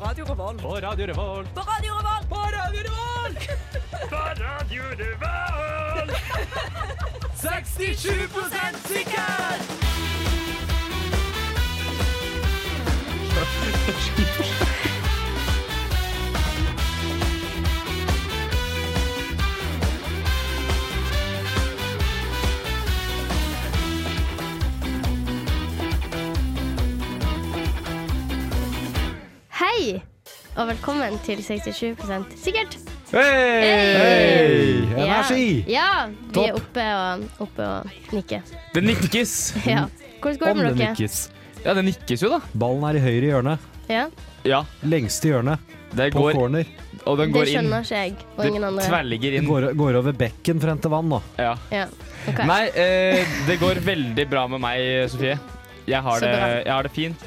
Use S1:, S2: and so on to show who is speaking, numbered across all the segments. S1: Radio Revolt.
S2: På Radio Revolt.
S1: På Radio Revolt!
S2: På Radio Revolt! På Radio Revolt! 67 sikker!
S3: Hei, og velkommen til 67 sikkert.
S4: Hei!
S3: Ja.
S4: Energi!
S3: Ja, vi er
S4: Topp. Mm.
S3: oppe og, oppe og nikker.
S2: Det nikkes.
S3: Ja. Hvordan
S4: Om
S3: går det
S4: det
S3: med dere?
S2: nikkes. Ja, det nikkes jo, da.
S4: Ballen er i høyre hjørne.
S3: Ja,
S2: Ja,
S4: Lengste hjørne.
S2: det
S4: På
S2: går,
S4: corner.
S2: og den
S3: det
S2: går inn.
S3: skjønner ikke jeg og ingen
S2: Det
S3: andre.
S2: tverrligger
S4: Det
S2: inn.
S4: går, går over bekken frem til vann nå.
S2: Ja.
S3: Ja. ok.
S2: Nei, eh, det går veldig bra med meg, Sofie. Jeg
S3: Så
S2: har, det,
S3: bra.
S2: jeg har det fint.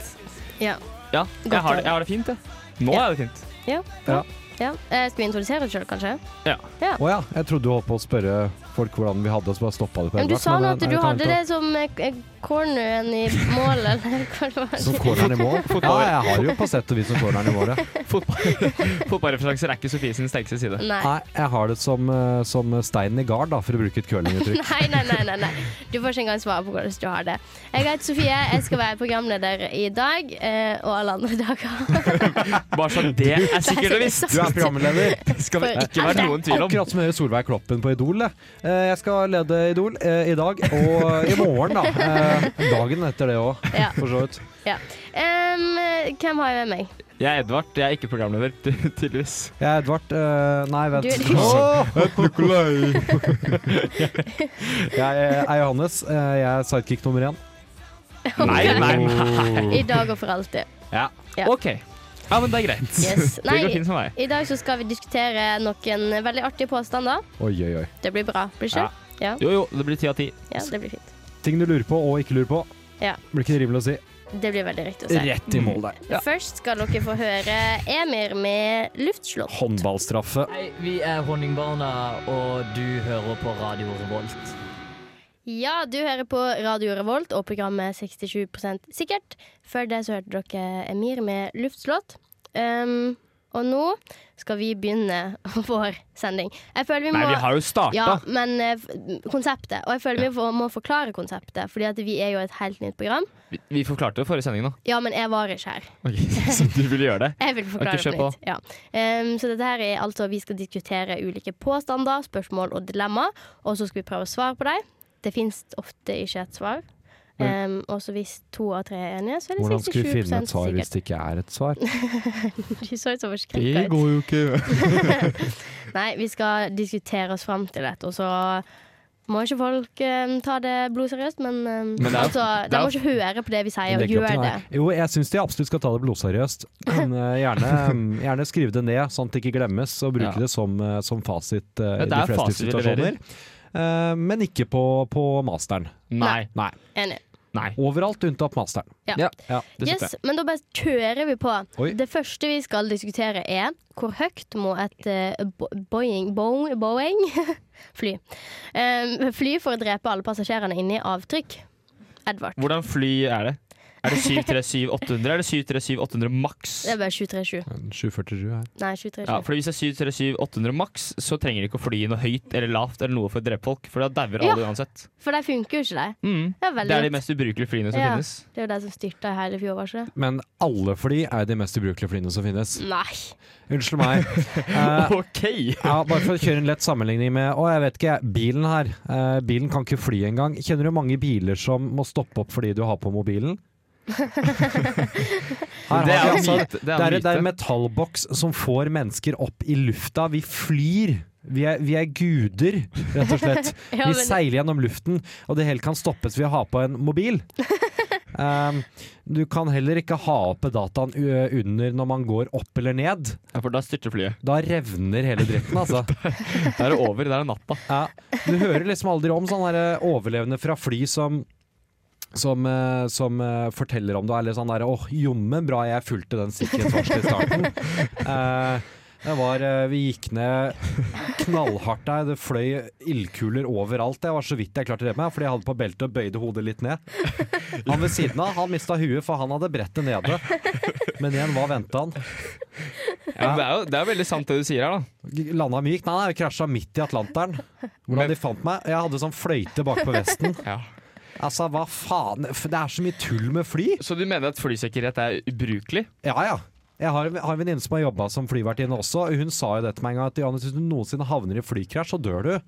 S3: Ja.
S2: Ja,
S3: Godt
S2: jeg har det, jeg har det fint, jeg. Nå
S3: Ja.
S2: er det fint.
S3: Ja.
S4: Ja.
S3: ja. Eh, skal vi introdusere oss sjøl, kanskje?
S4: Å ja, jeg trodde du holdt på å spørre folk hvordan vi hadde det, så bare stoppa det på
S3: Men du
S4: gang,
S3: sa nå
S4: men
S3: at
S4: er
S3: du
S4: det
S3: hadde
S4: tanken
S3: det som eh, eh, corneren i mål, eller hva det var.
S4: Som corneren i mål? Ja,
S2: Fotball.
S4: jeg har det jo på sett og vis som corneren i målet.
S2: Fotball, fotballreferanser er ikke Sofie sin sterkeste side.
S3: Nei.
S4: Nei, jeg har det som, eh, som steinen i gard, da, for å bruke et curlinguttrykk.
S3: Nei, nei, nei, nei, nei. Du får ikke engang svare på hvordan du har det. Jeg heter Sofie, jeg skal være programleder i dag eh, og alle andre dager.
S2: Bare så det er sikkert og visst.
S4: Du er programleder.
S2: Skal det ikke være noen tvil om.
S4: Akkurat som å gjøre Solveig Kloppen på Idol. det. Eh, Jeg skal lede Idol eh, i dag og i morgen, da. Eh, Dagen etter det òg,
S3: Ja.
S4: for så vidt.
S3: Em, hvem har jeg med meg?
S2: Jeg er Edvard, jeg er ikke programleder, ty- tydeligvis.
S4: Jeg er Edvard. eh, Nei, vent.
S3: Du
S4: Åh!
S3: er Edvard.
S4: Jeg er Johannes. eh, Jeg er sidekick nummer én.
S2: Nei, nei, nei.
S3: I dag og for alltid.
S2: Ja.
S3: Ja.
S2: OK. Ja, men det er greit.
S3: Yes.
S2: Det går
S3: Nei.
S2: fint for meg.
S3: I dag så skal vi diskutere noen veldig artige påstander.
S4: Oi, oi, oi.
S3: Det blir bra, blir det ikke? Ja.
S2: Jo, jo, det blir ti av ti.
S3: ja, det blir fint.
S4: Ting du lurer på og ikke lurer på.
S3: Ja.
S4: Blir ikke rimelig å si.
S3: Det blir veldig riktig å si.
S4: Rett i mål der.
S2: Ja.
S3: Først skal dere få høre Emir med luftslott.
S4: Håndballstraffe.
S5: Hei, vi er Honningbarna, og du hører på Radio Revolt.
S3: Ja, du hører på Radio Revolt og programmet 67 sikkert. Før det så hørte dere Emir med luftslott. Um, og nå skal vi begynne vår sending. Jeg føler vi må
S2: Nei, vi har jo
S3: Mm. ja,
S2: starta.
S3: men eh, f- konseptet. Og jeg føler vi må- må forklare konseptet, Fordi at vi er jo et helt nytt program.
S2: Vi, vi forklarte det forrige sending, da.
S3: Ja, men jeg var ikke her.
S2: Ok, Så du ville gjøre det?
S3: Jeg vil forklare det
S2: Ok, kjør
S3: på nytt. Ja. Ehm, så dette her er altså Vi skal diskutere ulike påstander, spørsmål og dilemma, og så skal vi prøve å svare på dem. Det fins ofte ikke et svar. Ehm, og så hvis to av tre er enige, så er det
S4: Hvordan skal vi
S3: 67
S4: finne et svar hvis
S3: sikkert.
S4: det ikke er et svar?
S3: De så ut som forskrekka ut.
S2: går jo ikke.
S3: Nei, vi skal diskutere oss fram til dette, og så må ikke folk ehm, ta det blodseriøst, men, ehm,
S2: Men det er-
S3: altså,
S2: det
S3: de
S2: er-
S3: må ikke høre på det vi sier, og
S4: Legger opp
S3: gjøre
S4: til
S3: det.
S4: nei. Jo, jeg syns de absolutt skal ta det blodseriøst. Men eh, gjerne, gjerne skrive det ned, sånn at det ikke glemmes, og bruke
S2: Ja.
S4: det som, eh, som fasit eh,
S2: Ja,
S4: i
S2: det
S4: de
S2: er
S4: fleste
S2: fasit vi
S4: situasjoner.
S2: leverer.
S4: Eh, Men ikke på, på masteren.
S2: Nei.
S4: Nei.
S3: Enig.
S2: Nei.
S4: Overalt unntatt masteren.
S2: Det synes
S3: Yes, men da bare kjører vi på.
S4: Oi.
S3: Det første vi skal diskutere er hvor høyt må et eh, bo- Boeing, Boeing, Boeing fly Em, fly for å drepe alle passasjerene inne i avtrykk? Edvard.
S2: jeg. Hvordan fly er det? Er det 737-800? Er det 737-800 maks?
S3: Det er bare 737.
S4: 747 her.
S3: Nei, 737.
S2: Ja, for Hvis det er 737-800 maks, så trenger de ikke å fly noe høyt eller lavt eller noe for å drepe folk, for da dauer
S3: Ja.
S2: alle uansett.
S3: For de funker jo ikke, de.
S2: Mm.
S3: Det er
S2: Det
S3: veldig
S2: er de mest ubrukelige flyene som
S3: Ja.
S2: finnes.
S3: Det er jo de som styrta i hele fjor, var ikke det?
S4: Men alle fly er jo de mest ubrukelige flyene som finnes.
S3: Nei.
S4: Unnskyld meg. Eh,
S2: OK!
S4: ja, bare for å kjøre en lett sammenligning med Å, jeg vet ikke, jeg, bilen her. Eh, bilen kan ikke fly engang. Kjenner du mange biler som må stoppe opp fordi du har på mobilen? Her har vi
S2: Det er en
S4: altså,
S2: myte. Det
S4: det er,
S2: er,
S4: det er en metallboks som får mennesker opp i lufta. Vi flyr. Vi er, vi er guder, rett og slett.
S3: Ja,
S4: Vi
S3: men,
S4: seiler gjennom luften, og det hele kan stoppes ved å ha på en mobil. Um, du kan heller ikke ha oppe dataen u- under når man går opp eller ned.
S2: Ja, for da styrter flyet.
S4: Da revner hele dritten, altså.
S2: Da er det over. Da er det natta.
S4: Ja. Du hører liksom aldri om sånne der overlevende fra fly som som, eh, som eh, forteller om det, eller sånn derre 'Å, jommen bra jeg fulgte den sikkerhetsvarselen i starten'. Eh, Det var, eh, vi gikk ned knallhardt der. Det fløy ildkuler overalt. Jeg var så vidt jeg klarte det med, fordi jeg hadde på beltet og bøyde hodet litt ned. Han ved siden av han mista huet, for han hadde brettet nede. Men igjen, hva venta han?
S2: Ja, men det, er jo, det er veldig sant det du sier her, da.
S4: Landa mykt? Nei, nei, jeg krasja midt i Atlanteren.
S2: Men-
S4: Hvordan de fant meg? Jeg hadde sånn fløyte bakpå vesten.
S2: Ja.
S4: Altså, hva faen? F- Det er så mye tull med fly.
S2: Så du mener at flysikkerhet er ubrukelig?
S4: Ja, ja. Jeg har, har en venninne som har jobba som flyvertinne også. og Hun sa jo det til meg en gang at Johannes, hvis du noensinne havner i flykrasj, så dør du.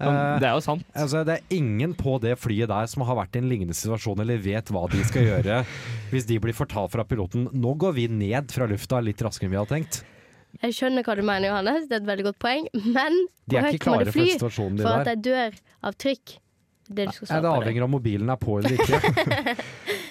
S2: Men
S4: Eh,
S2: Sånn, det er jo sant.
S4: altså, det er ingen på det flyet der som har vært i en lignende situasjon eller vet hva de skal gjøre hvis de blir fortalt fra piloten nå går vi ned fra lufta litt raskere enn vi hadde tenkt.
S3: Jeg skjønner hva du mener, Johannes. Det er et veldig godt poeng. Men
S4: De er
S3: hvor høyt
S4: ikke
S3: må
S4: klare
S3: det
S4: for
S3: fly
S4: den situasjonen de
S3: for at
S4: der.
S3: jeg dør av trykk? Det er det du skal
S4: Nei, det
S3: svare på. det.
S4: avhenger av om mobilen er på eller ikke.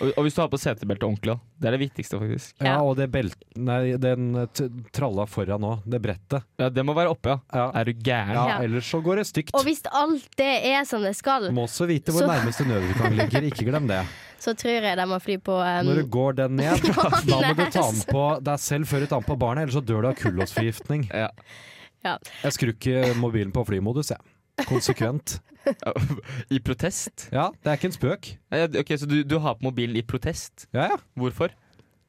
S2: Og, og hvis du har på setebelte ordentlig, da. Det er det viktigste, faktisk.
S4: Ja,
S3: Ja.
S4: og det belt, nei, den t tralla foran nå, det brettet.
S2: Ja, det må være oppe, ja.
S4: Ja.
S2: Er du gæren?
S4: ja,
S3: Ja.
S4: ellers så går det stygt.
S3: Og hvis alt det er som det skal,
S4: Du må også vite hvor
S3: Så-
S4: nærmeste nødutgang ligger, ikke glem det.
S3: så tror jeg de må fly på um,
S4: Når du går den ned, da må du ta den
S3: Johannes.
S4: på deg selv før du tar den på barnet, ellers så dør du av kullosforgiftning.
S2: Ja.
S3: Ja.
S4: Jeg skrur ikke mobilen på flymodus, jeg. Konsekvent.
S2: I protest?
S4: Ja, det er ikke en spøk.
S2: Ja, ok, Så du, du har på mobilen i protest?
S4: Ja, ja.
S2: Hvorfor?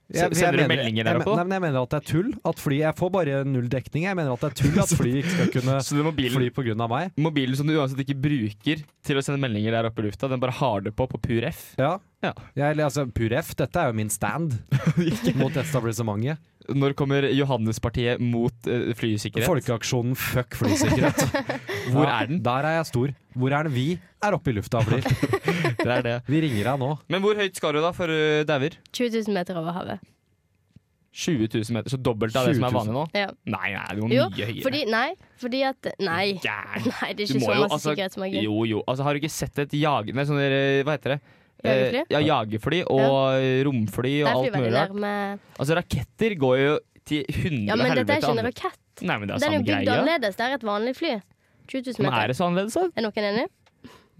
S4: Jeg- jeg
S2: sender du
S4: mener-
S2: meldinger der
S4: jeg men-
S2: oppe, da?
S4: Nei, men jeg mener at det er tull. At fly, jeg får bare null dekning. Jeg mener at det er tull at fly ikke skal kunne
S2: Så det er mobilen,
S4: fly på grunn av meg.
S2: mobilen som du uansett ikke bruker til å sende meldinger der oppe i lufta, den bare har det på på pur F?
S4: Ja.
S2: Ja.
S4: Jeg, altså, pur F, dette er jo min stand mot etablissementet.
S2: Når kommer Johannespartiet mot eh, flysikkerhet?
S4: Folkeaksjonen fuck flysikkerhet.
S2: Hvor
S4: Ja,
S2: er den?
S4: Der er jeg stor. Hvor er den? Vi er oppe i lufta, Flir.
S2: Det er det.
S4: Vi ringer deg nå.
S2: Men hvor høyt skal du da for uh, dauer?
S3: 20 000 meter over havet.
S2: 20 000 meter, så dobbelt av det
S4: 20 000.
S2: som er vanlig nå?
S3: Ja.
S2: Nei, nei, det må
S3: Jo,
S2: mye høyere.
S3: Fordi, nei, fordi at Nei.
S2: Gæren.
S3: Nei, det er
S2: Du
S3: ikke
S2: må
S3: så
S2: jo,
S3: masse
S2: altså,
S3: sikkerhetsmargin.
S2: Jo, jo. Altså, har du ikke sett et jag... Nei, sånne, eh, hva heter det? Eh,
S3: Jagerfly?
S2: ja, jagerfly og romfly
S3: Det
S2: og
S3: er
S2: alt mulig
S3: flyvertinner
S2: rart.
S3: med
S2: Altså, raketter går jo til hundre
S3: Ja, men dette er
S2: helvete
S3: ikke en
S2: andre-
S3: rakett.
S2: Nei, men det er
S3: Den er jo
S2: samme
S3: bygd
S2: greia.
S3: annerledes. Det er et vanlig fly. 20 000
S2: Men er
S3: meter.
S2: det så annerledes, da?
S3: Er noen enig?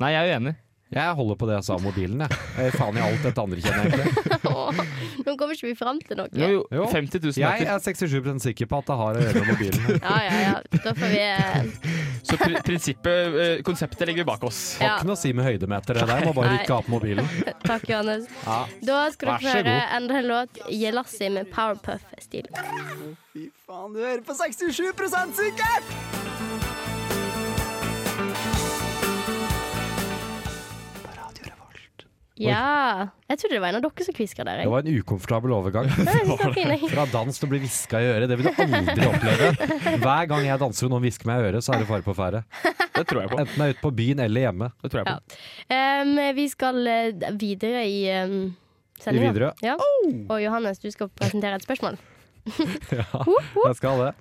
S2: Nei, jeg er uenig.
S4: Jeg holder på det jeg sa om mobilen, jeg. jeg er faen i alt dette andre kjenner jeg egentlig.
S3: Åh, Nå kommer ikke vi fram til noe.
S2: Jo,
S3: Ja,
S2: jo.
S4: Jo.
S2: 50 000
S4: Jeg
S2: meter.
S4: er 67 sikker på at det har å gjøre med mobilen.
S3: ja, ja. Da får vi eh,
S2: Så pri prinsippet, eh, konseptet legger vi bak oss.
S4: Har
S3: Ja.
S4: ikke noe å si med høydemeter, det der. Må bare
S3: Nei.
S4: rykke av på mobilen.
S3: Takk, Johannes.
S4: Ja.
S3: Da skal
S4: Vær så
S3: dere få høre
S4: god.
S3: enda en låt. Jelassi med Powerpuff-stil.
S1: Fy faen, du hører på 67 sikkert!
S3: Ja. Jeg trodde det var en av dere som kviska der.
S4: Det
S3: Jeg.
S4: var en ukomfortabel overgang.
S3: Nei, det var fin, jeg.
S4: Fra dans til å bli hviska i øret. Det vil du aldri oppleve. Hver gang jeg danser og noen hvisker meg i øret, så er det fare på ferde.
S2: Det tror jeg på.
S4: Enten det er ute på byen eller hjemme.
S2: Det tror jeg på.
S3: Ja. Um, vi skal eh, videre i um, sendinga.
S4: I Widerøe?
S3: Ja. Og Johannes, du skal presentere et spørsmål.
S4: Ja, jeg skal det.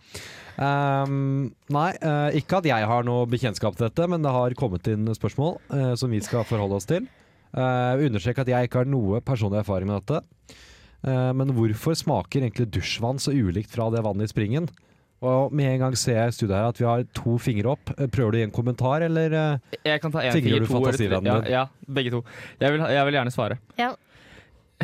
S4: Ehm, nei, eh, ikke at jeg har noe bekjentskap til dette, men det har kommet inn spørsmål eh, som vi skal forholde oss til. Uh, Understrek at jeg ikke har noe personlig erfaring med dette. Eh, men hvorfor smaker egentlig dusjvann så ulikt fra det vannet i springen? Og med en gang ser jeg i studiet her at vi har to fingre opp. Eh, Prøver du å gi en kommentar, eller? eh?
S2: Jeg kan ta én
S4: Tvinger du
S2: finger, to eller tre.
S4: fantasiverden
S2: Ja,
S4: din?
S2: ja, begge to. Jeg vil, ha- jeg vil gjerne svare.
S3: Ja.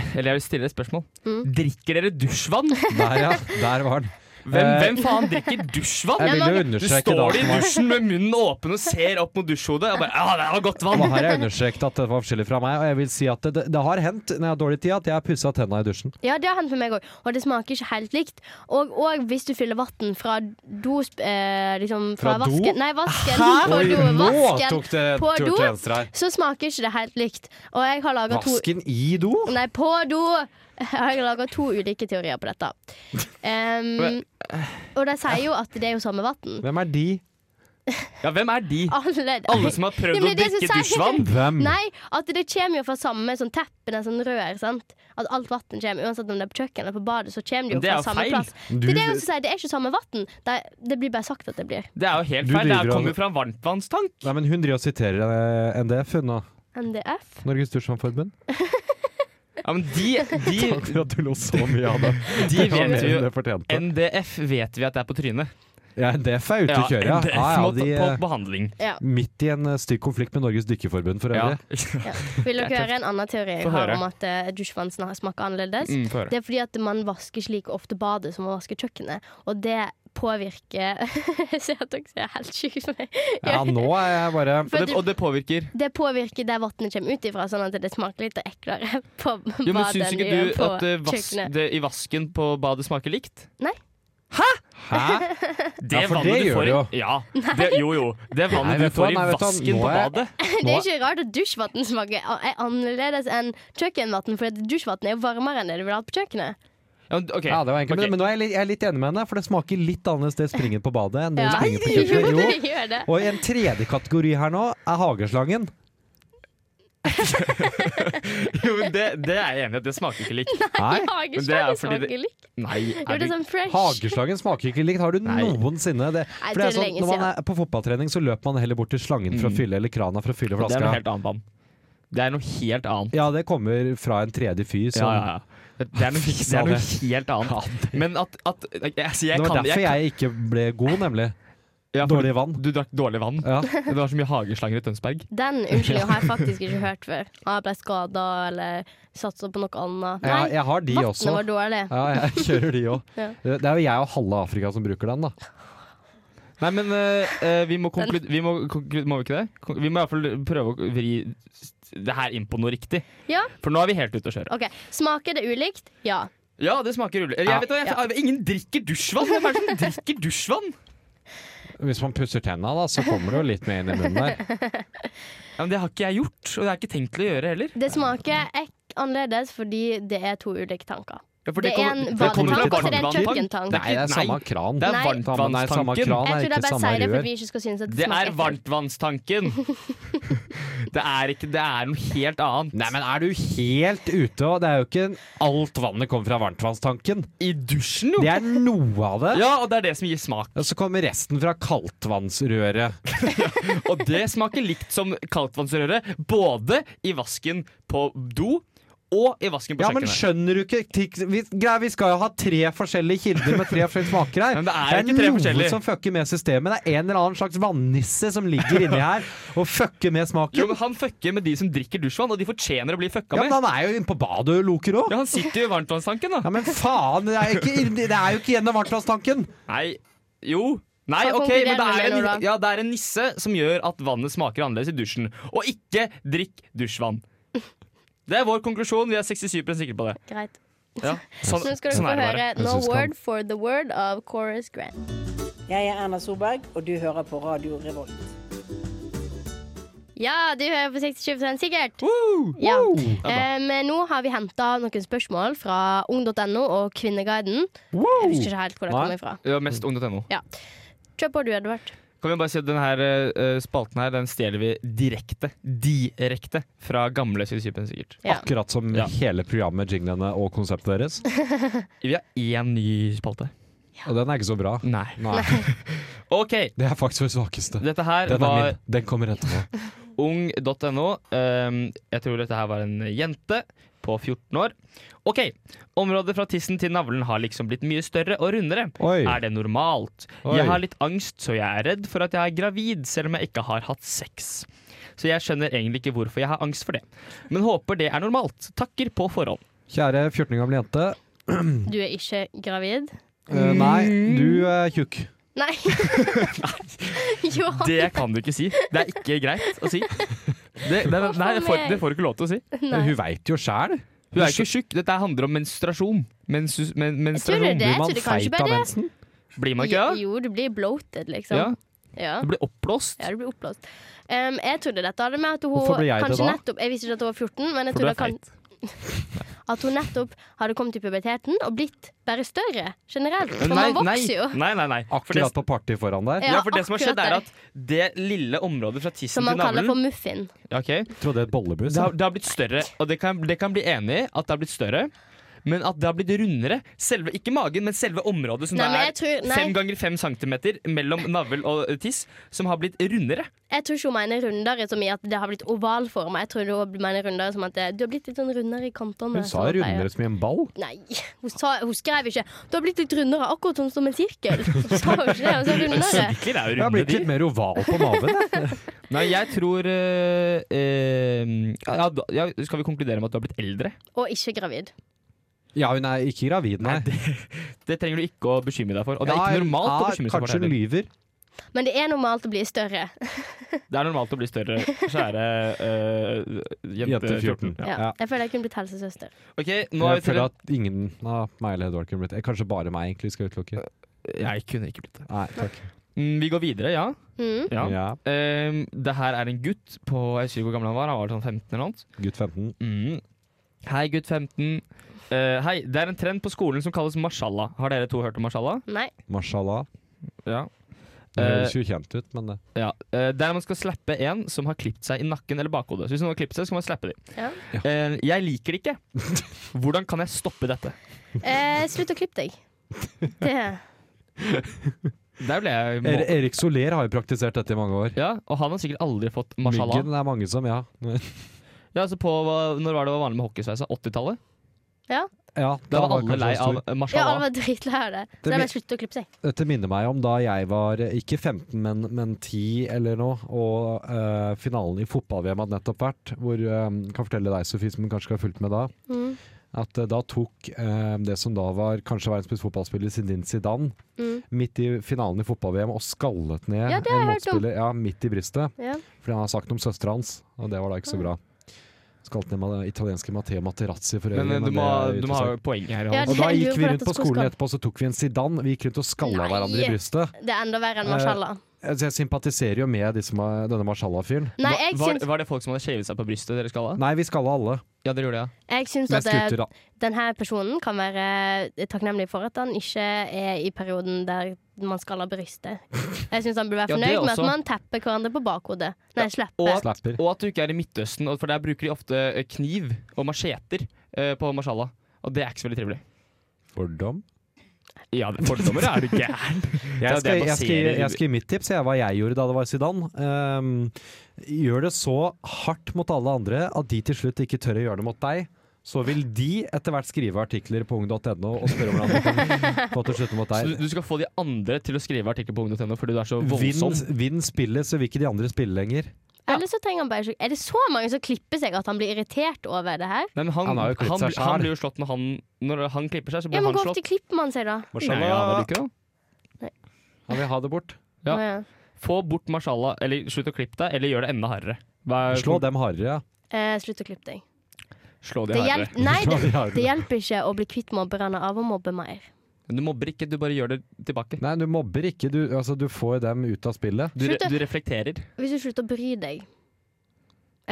S2: Eller jeg vil stille et spørsmål.
S3: Mm.
S2: Drikker dere dusjvann?
S4: Der, ja. Der var den.
S2: Hvem,
S4: Eh,
S2: hvem faen drikker dusjvann?
S4: Jeg vil jo
S2: Du
S4: understreke da
S2: står i
S4: at man-
S2: dusjen med munnen åpen og ser opp mot dusjhodet. Og bare, ja, det var godt vann
S4: Og her har jeg understreket at det var forskjellig fra meg, og jeg vil si at det, det, det har hendt når jeg har dårlig tid, at jeg har pussa tenna i dusjen.
S3: Ja, det har hendt med meg òg, og det smaker ikke helt likt. Og, og hvis du fyller vann fra do eh, liksom, Fra,
S4: Fra do?
S3: vasken Nei, vasken. Fra
S4: Oi,
S3: do,
S4: nå
S3: vasken.
S4: tok det
S3: På
S4: tur
S3: do?
S4: til venstre her.
S3: Så smaker ikke det helt likt. Og jeg har laga to
S4: Vasken i do?
S3: Nei, på do! Jeg har laga to ulike teorier på dette. Em, og de sier jo at det er jo samme vann.
S4: Hvem er de?
S2: Ja, hvem er de?
S3: Alle,
S2: Alle som har
S3: Ja,
S2: prøvd
S3: men
S2: å
S3: det er det
S2: drikke
S3: som sier-
S2: dusjvann?
S4: Hvem?
S3: Nei, at det kommer jo fra samme sånn teppene, sånn rør, sant. At alt vann kommer. Uansett om det er på kjøkkenet eller på badet, så kommer det jo
S2: Men det
S3: fra
S2: er jo
S3: samme
S2: feil.
S3: plass.
S4: Du,
S3: Det er det jeg også sier, det er ikke samme vann. Det, det blir bare sagt at det blir.
S2: Det er jo helt
S4: Du
S2: feil. Det
S4: driver
S2: er- kommer
S4: an-
S2: jo fra en varmtvannstank.
S4: nei, men hun driver og siterer eh, NDF, hun nå.
S3: NDF.
S4: Norges Dusjvannforbund.
S2: Ja, men de,
S4: Takk
S2: de,
S4: for at du lo så mye av det.
S2: de
S4: Det var
S2: vet
S4: mer
S2: vi
S4: enn
S2: jo
S4: det fortjente.
S2: NDF vet vi at det er på trynet.
S4: Ja, NDF er ute
S2: Ja,
S4: å kjøre, ja.
S2: NDF
S4: ja, ja
S2: må
S4: de,
S2: ta- på behandling.
S3: Ja.
S4: eh, midt i en eh, stygg konflikt med Norges Dykkerforbund, for
S2: Ja.
S4: øvrig.
S3: Vil
S2: Det
S3: dere
S2: er
S3: høre en annen teori jeg
S2: Få
S3: har
S2: høre.
S3: om at eh, dusjvann sna- smaker annerledes?
S2: Mm, få høre.
S3: Det er fordi at man vasker ikke like ofte badet som man vasker kjøkkenet. Og det påvirker Se at dere ser helt sjuke ut.
S4: Ja, nå er jeg bare
S2: Og det, og det påvirker.
S3: Det påvirker der vannet kommer ut ifra, sånn at det smaker litt eklere på badet
S2: Jo, men Syns
S3: enn
S2: ikke
S3: det gjør
S2: du
S3: på
S2: at eh, vask,
S3: kjøkkenet.
S2: det, i vasken på badet smaker likt?
S4: Hæ?
S2: Det
S4: Ja, for det gjør det jo.
S2: Ja, det, jo jo. Det
S4: Nei,
S2: vannet
S4: vet du hva?
S2: du får i
S4: Nei, vet du hva?
S2: vasken
S4: Nå
S2: på
S4: er-
S2: badet.
S3: Det er ikke rart at dusjvann smaker a- er annerledes enn kjøkkenvann, for dusjvann er jo varmere enn det du ville hatt på kjøkkenet.
S2: Ja, men, ok.
S4: Ja, det var enkelt.
S2: Ok.
S4: Men, men nå er jeg, litt, jeg er litt enig med henne, for det smaker litt annerledes det springen på badet enn det
S3: Ja.
S4: springen på
S3: Jo,
S4: kjøkkenet. Jo.
S3: det gjør det.
S4: Og i en tredje kategori her nå er hageslangen.
S2: Jo, men det, det er jeg enig i at det smaker ikke likt.
S4: Nei,
S2: Men det er
S3: Hageslangen
S2: fordi det-
S3: smaker likt.
S2: Nei,
S3: Jo, det er sånn fresh.
S4: hageslangen smaker ikke likt. Har du
S2: Nei.
S4: noensinne det? For det
S3: Nei,
S4: er
S3: det er
S4: sånn,
S3: lenge
S4: når man
S3: siden.
S4: er på fotballtrening, så løper man heller bort til slangen for å
S2: Mm.
S4: fylle eller krana for å fylle
S2: Det er noe
S4: flaska.
S2: helt annet vann. Det er noe helt annet.
S4: Ja, det kommer fra en tredje fyr som
S2: Ja, ja, ja. Det, det, er, noe, det er noe helt annet. Men at, at altså, jeg
S4: Det var
S2: kan,
S4: derfor
S2: kan-
S4: jeg ikke ble god, nemlig.
S2: ja, for
S4: Dårlig vann.
S2: Du drakk dårlig vann.
S4: Ja.
S2: Det var så mye hageslanger i Tønsberg.
S3: Den unnskyldningen har jeg faktisk ikke hørt før. Ah, jeg ble skada eller satsa på noe annet.
S4: Ja,
S3: Nei,
S4: jeg har de
S3: vannet
S4: også.
S3: var dårlig.
S4: Ja, jeg kjører de òg.
S3: Ja.
S4: Det er jo jeg og halve Afrika som bruker den, da.
S2: Nei, men eh, eh, vi må konkludere vi må, konklu- må vi ikke det? Kon- Vi må i hvert fall prøve å vri det her inn på noe riktig.
S3: Ja.
S2: For nå er vi helt ute å kjøre.
S3: OK. Smaker det ulikt? Ja.
S2: Ja, det smaker ulle. Jeg vet, hva, jeg, Ingen drikker dusjvann! Hvem er det som drikker dusjvann?
S4: Hvis man pusser tenna, da, så kommer det jo litt mer inn i munnen der.
S2: Ja, men Det har ikke jeg gjort, og det har jeg ikke tenkt til å gjøre heller.
S3: Det smaker ek annerledes fordi det er to ulike tanker.
S2: Ja, for
S3: Det er en
S2: kommer
S4: badetank,
S2: fra
S4: og det er
S3: en
S2: varmtvanntank.
S3: kjøkkentank.
S2: Det
S4: Nei, det er samme
S2: nei,
S4: kran.
S2: det er
S3: Nei.
S4: Nei, samme
S2: varmtvannstanken.
S4: kran er
S3: Jeg tror jeg
S4: ikke
S3: bare
S4: samme
S3: sier det for at
S4: rør.
S3: vi ikke skal synes at det,
S2: Det er
S3: smaker ekkelt.
S2: varmtvannstanken. Det er ikke Det er noe helt annet.
S4: Nei, men er du helt ute? og Det er jo ikke alt vannet kommer fra varmtvannstanken.
S2: I dusjen, jo!
S4: Det er noe av det.
S2: Ja, og det er det som gir smak.
S4: Og så kommer resten fra kaldtvannsrøret.
S2: Og det smaker likt som kaldtvannsrøre, både i vasken på do og i vasken på
S4: Ja, men
S2: kjøkkenet.
S4: skjønner du ikke tikk- vi, grei, vi skal jo ha tre forskjellige kilder med tre forskjellige smaker her.
S2: Men det er ikke tre forskjellige.
S4: noe som fucker med systemet. Det er en eller annen slags vannisse som ligger inni her og fucker med
S2: Jo,
S4: smaken.
S2: men Han fucker med de som drikker dusjvann, og de fortjener å bli fucka
S4: Ja, men
S2: med.
S4: han er jo inne på badet og loker òg.
S2: Ja, Han sitter jo i varmtvannstanken, da.
S4: Ja, men faen! Det er jo ikke, inn- det er jo ikke gjennom varmtvannstanken.
S2: Nei, jo Nei,
S3: Hva
S2: ok, men det
S3: konkluderer
S2: er,
S3: du med nå,
S2: en,
S3: da?
S2: ja, det er en nisse som gjør at vannet smaker annerledes i dusjen. Og ikke drikk dusjvann. Det er vår konklusjon. Vi er 67 sikre på det.
S3: Greit.
S2: Ja. Sånn,
S3: Så nå skal dere
S2: sånn
S3: få
S2: er det bare.
S3: høre
S4: Jeg
S3: No
S4: synes han-
S3: Word for the Word av Chorus Grant.
S6: Jeg er Erna Solberg, og du hører på Radio Revolt.
S3: Ja, du hører på 60-20 sikkert.
S2: Woo!
S3: Ja.
S2: er bra.
S3: Eh, Men nå har vi henta noen spørsmål fra ung.no og Kvinneguiden. Jeg husker ikke helt hvor det
S4: Nei.
S3: kommer fra.
S2: Ja, mest ung.no.
S3: Kjør på du, Edvard.
S2: Kan vi bare si at denne her, eh, spalten her, den stjeler vi direkte direkte fra gamle 67 sikkert.
S3: Ja.
S4: Akkurat som
S2: Ja.
S4: hele programmet, jinglene og konseptet deres.
S2: Vi har én ny spalte.
S4: Og den er ikke så bra.
S2: Nei.
S4: Nei,
S2: OK.
S4: Det er faktisk det svakeste.
S2: Dette her
S4: Den er
S2: var
S4: min. Den kommer etterpå.
S2: ung.no. Ehm, jeg tror dette her var en jente på 14 år. OK. Området fra tissen til navlen har liksom blitt mye større og rundere.
S4: Oi.
S2: Er det normalt?
S4: Oi.
S2: Jeg har litt angst, så jeg er redd for at jeg er gravid, selv om jeg ikke har hatt sex. Så jeg skjønner egentlig ikke hvorfor jeg har angst for det. Men håper det er normalt. Takker på forhånd.
S4: Kjære 14 år gamle jente.
S3: Du er ikke gravid?
S4: Eh, nei,
S2: Mm.
S4: du er tjukk.
S3: Nei. jo.
S2: Det kan du ikke si. Det er ikke greit å si. Det, det, nei, det får, det får du ikke lov til å si.
S4: Men Hun veit jo sjæl.
S2: Hun er ikke tjukk. Dette handler om menstruasjon. Mensus, men,
S3: Jeg tror det er
S2: menstruasjon.
S3: det. Jeg tror det kanskje bare det.
S4: mensen?
S2: Blir man ikke det?
S3: Jo, du blir bloated, liksom.
S2: Ja,
S3: Ja. ja.
S2: du blir oppblåst.
S3: du blir oppblåst. Um, jeg trodde dette hadde med at hun
S4: Hvorfor ble jeg det
S3: kanskje
S4: da?
S3: nettopp Jeg visste ikke at hun var 14, men jeg
S2: For du
S3: trodde
S2: er
S3: kan, at hun nettopp hadde kommet i puberteten og blitt bare større generelt. For
S2: Nei,
S3: man vokser
S2: nei,
S3: jo.
S2: nei, nei, nei. For det,
S4: Akkurat på party foran der.
S2: ja, for det som har skjedd, er
S3: akkurat
S2: at det lille området fra tissen
S3: Som
S2: til
S3: man kaller for
S2: navlen
S3: muffin.
S2: Ja, ok.
S4: Trodde det et bollemus.
S2: Det har, det har blitt større, og det kan, det kan bli enig i at det har blitt større. Men at det har blitt rundere. Selve, ikke magen, men selve området som
S3: Nei,
S2: det
S3: men
S2: er
S3: jeg tror, nei,
S2: fem ganger fem centimeter mellom navl og eh, tiss, som har blitt rundere.
S3: jeg tror ikke hun mener rundere som i at det har blitt ovalforma. Jeg tror hun mener rundere som at det, du har blitt litt sånn rundere i kantene.
S4: Hun sa
S3: som man pleier.
S4: rundere som i en ball.
S3: Nei, hun, sa, hun skrev ikke 'du har blitt litt rundere', akkurat sånn som en sirkel. Hun sa jo ikke det, hun sa rundere.
S2: Sirkler er
S4: Jeg
S2: jo
S4: har
S2: runde,
S4: blitt
S2: de.
S4: litt mer oval på maven. jeg.
S2: Nei, jeg tror eh, eh, ja, da- ja, Skal vi konkludere med at du har blitt eldre?
S3: Og ikke gravid.
S4: Ja, hun er ikke gravid, nei.
S2: Det trenger du ikke å bekymre deg for. Og det er
S4: Ja,
S2: ikke normalt å
S4: ja,
S2: bekymre seg for
S4: Kanskje
S2: det.
S4: hun
S2: heller.
S4: lyver.
S3: Men det er normalt å bli større.
S2: Det er normalt å bli større, kjære øh, jente 14.
S3: Ja.
S4: Ja.
S3: Jeg føler jeg kunne blitt helsesøster.
S2: Ok, nå er
S4: jeg
S2: vi til
S4: føler at ingen av meg eller Edvard kunne blitt det. Kanskje bare meg, egentlig, skal utelukke.
S2: Jeg kunne ikke blitt det.
S4: Nei, takk.
S2: Mm, vi går videre, ja.
S3: Mm.
S2: ja.
S4: Ja.
S2: Ehm, det her er en gutt på Jeg husker ikke hvor gammel han var. Han var sånn 15 eller noe. sånt.
S4: Gutt 15.
S2: Mm. Hei, gutt 15. Eh, hei, det er en trend på skolen som kalles mashallah. Har dere to hørt om mashallah?
S3: Nei.
S4: Mashallah.
S2: Ja. Eh,
S4: Det høres jo kjent ut, men det
S2: Ja, eh, Der man skal slappe en som har klippet seg i nakken eller bakhodet. Så hvis noen har klippet seg, så skal man slappe dem.
S3: Ja.
S2: Eh, jeg liker det ikke. Hvordan kan jeg stoppe dette?
S3: Eh, slutt å klippe deg. Det
S2: Der ble jeg
S4: er,
S2: må
S4: Erik Soler har jo praktisert dette i mange år.
S2: Ja, Og han har sikkert aldri fått mashallah.
S4: Myggen det er mange som, ja.
S2: Ja, altså på, Når var det var vanlig med hockeysveis? 80-tallet?
S4: ja
S2: Da
S4: da
S2: var
S4: kanskje
S2: alle lei
S4: han stor.
S2: av eh,
S3: Ja,
S2: mashallah.
S3: alle var dritlei av det. Så
S4: Det
S3: da
S4: mi-
S3: må jeg slutte å klippe seg.
S4: Dette minner meg om da jeg var eh, ikke 15, men, men 10 eller noe, og eh, finalen i fotball-VM hadde nettopp vært, hvor eh, kan fortelle deg, Sofie, som kanskje ikke har fulgt med da,
S3: Mm.
S4: at eh, da tok eh, det som da var kanskje verdens beste fotballspiller, Zidane Zidane,
S3: Mm.
S4: midt i finalen i fotball-VM og skallet ned
S3: Ja, det har
S4: en
S3: jeg hørt om.
S4: motspiller ja, midt i brystet,
S3: Ja.
S4: fordi han har sagt om søstera hans, og det var da ikke
S3: Mm.
S4: så bra. Skallet ned med italienske Matteo Materazzi for øvrig.
S2: Men eh, du må,
S4: det er
S2: du må ha
S4: uinteressant.
S2: poenget her.
S3: Ja,
S2: Johannes.
S4: Og da
S3: Jeg lurer
S4: gikk vi
S3: på
S4: rundt
S3: dette
S4: på skolen
S3: skoskap.
S4: etterpå, så tok vi en Zidane. Vi gikk rundt og skalla
S3: Nei.
S4: hverandre i brystet.
S3: Det er enda verre enn
S4: Eh,
S3: mashallah.
S4: Altså, jeg sympatiserer jo med de som er, denne Marshallah-fyren.
S3: Nei,
S2: Hva-
S3: jeg
S2: var,
S3: syns,
S2: var det folk som hadde shavet seg på brystet? dere skalla?
S4: Nei, vi skalla alle.
S2: Ja, dere gjorde det, ja.
S3: jeg syns at
S4: Mest
S3: eh,
S4: gutter, da.
S3: denne personen kan være eh, takknemlig for at han ikke er i perioden der man skaller brystet. Jeg syns han burde
S2: Ja,
S3: være
S2: det
S3: fornøyd med
S2: også.
S3: at man tapper hverandre på bakhodet. Nei, slipper.
S2: Og,
S4: Slapper.
S2: og at du ikke er i Midtøsten, og- for der bruker de ofte eh, kniv og macheter eh, på mashallah. Og det er ikke så veldig trivelig.
S4: Fordom.
S2: Ja, fordommer er du gæren.
S4: Jeg
S2: det
S4: skal,
S2: jeg
S4: jeg, skal, gi-
S2: baserer-
S4: jeg skal gi mitt tips, jeg, hva jeg gjorde da det var Zidane. Ehm, gjør det så hardt mot alle andre at de til slutt ikke tør å gjøre det mot deg. Så vil de etter hvert skrive artikler på ung.no og spørre om hvordan de kan få til å slutte mot
S2: Så du,
S4: deg.
S2: du skal få de andre til å skrive artikkel på ung.no fordi du er så voldsom.
S4: Vinn vinn spillet, så vil ikke de andre spille lenger.
S3: Eller så trenger han bare ikke Er det så mange som klipper seg at han blir irritert over det her?
S2: Nei, men han,
S4: Han har jo klippet
S2: han,
S4: seg selv.
S2: han blir jo slått når han, når han klipper seg, så
S3: Ja,
S2: blir
S3: men
S2: han
S3: Hvor
S2: slått.
S3: ofte klipper man seg, da?
S2: Nei, ja, det er ikke det.
S4: Han vil ha det bort.
S2: Ja.
S3: Å, ja.
S2: Få bort mashallah, eller slutt å klippe deg, eller gjør det enda hardere. Hva er-
S4: Slå dem hardere.
S3: Eh, slutt å klippe deg.
S2: Slå de
S3: Det,
S2: hardere.
S3: hjelp, nei, det,
S4: Slå de hardere.
S3: det hjelper ikke å bli kvitt mobberne av å mobbe mer.
S2: Du mobber ikke, du bare gjør det tilbake.
S4: Nei, du mobber ikke. Du, altså, du får dem ut av spillet.
S2: Du, re
S3: Slutt å-
S2: du reflekterer.
S3: Hvis du slutter å bry deg. Jeg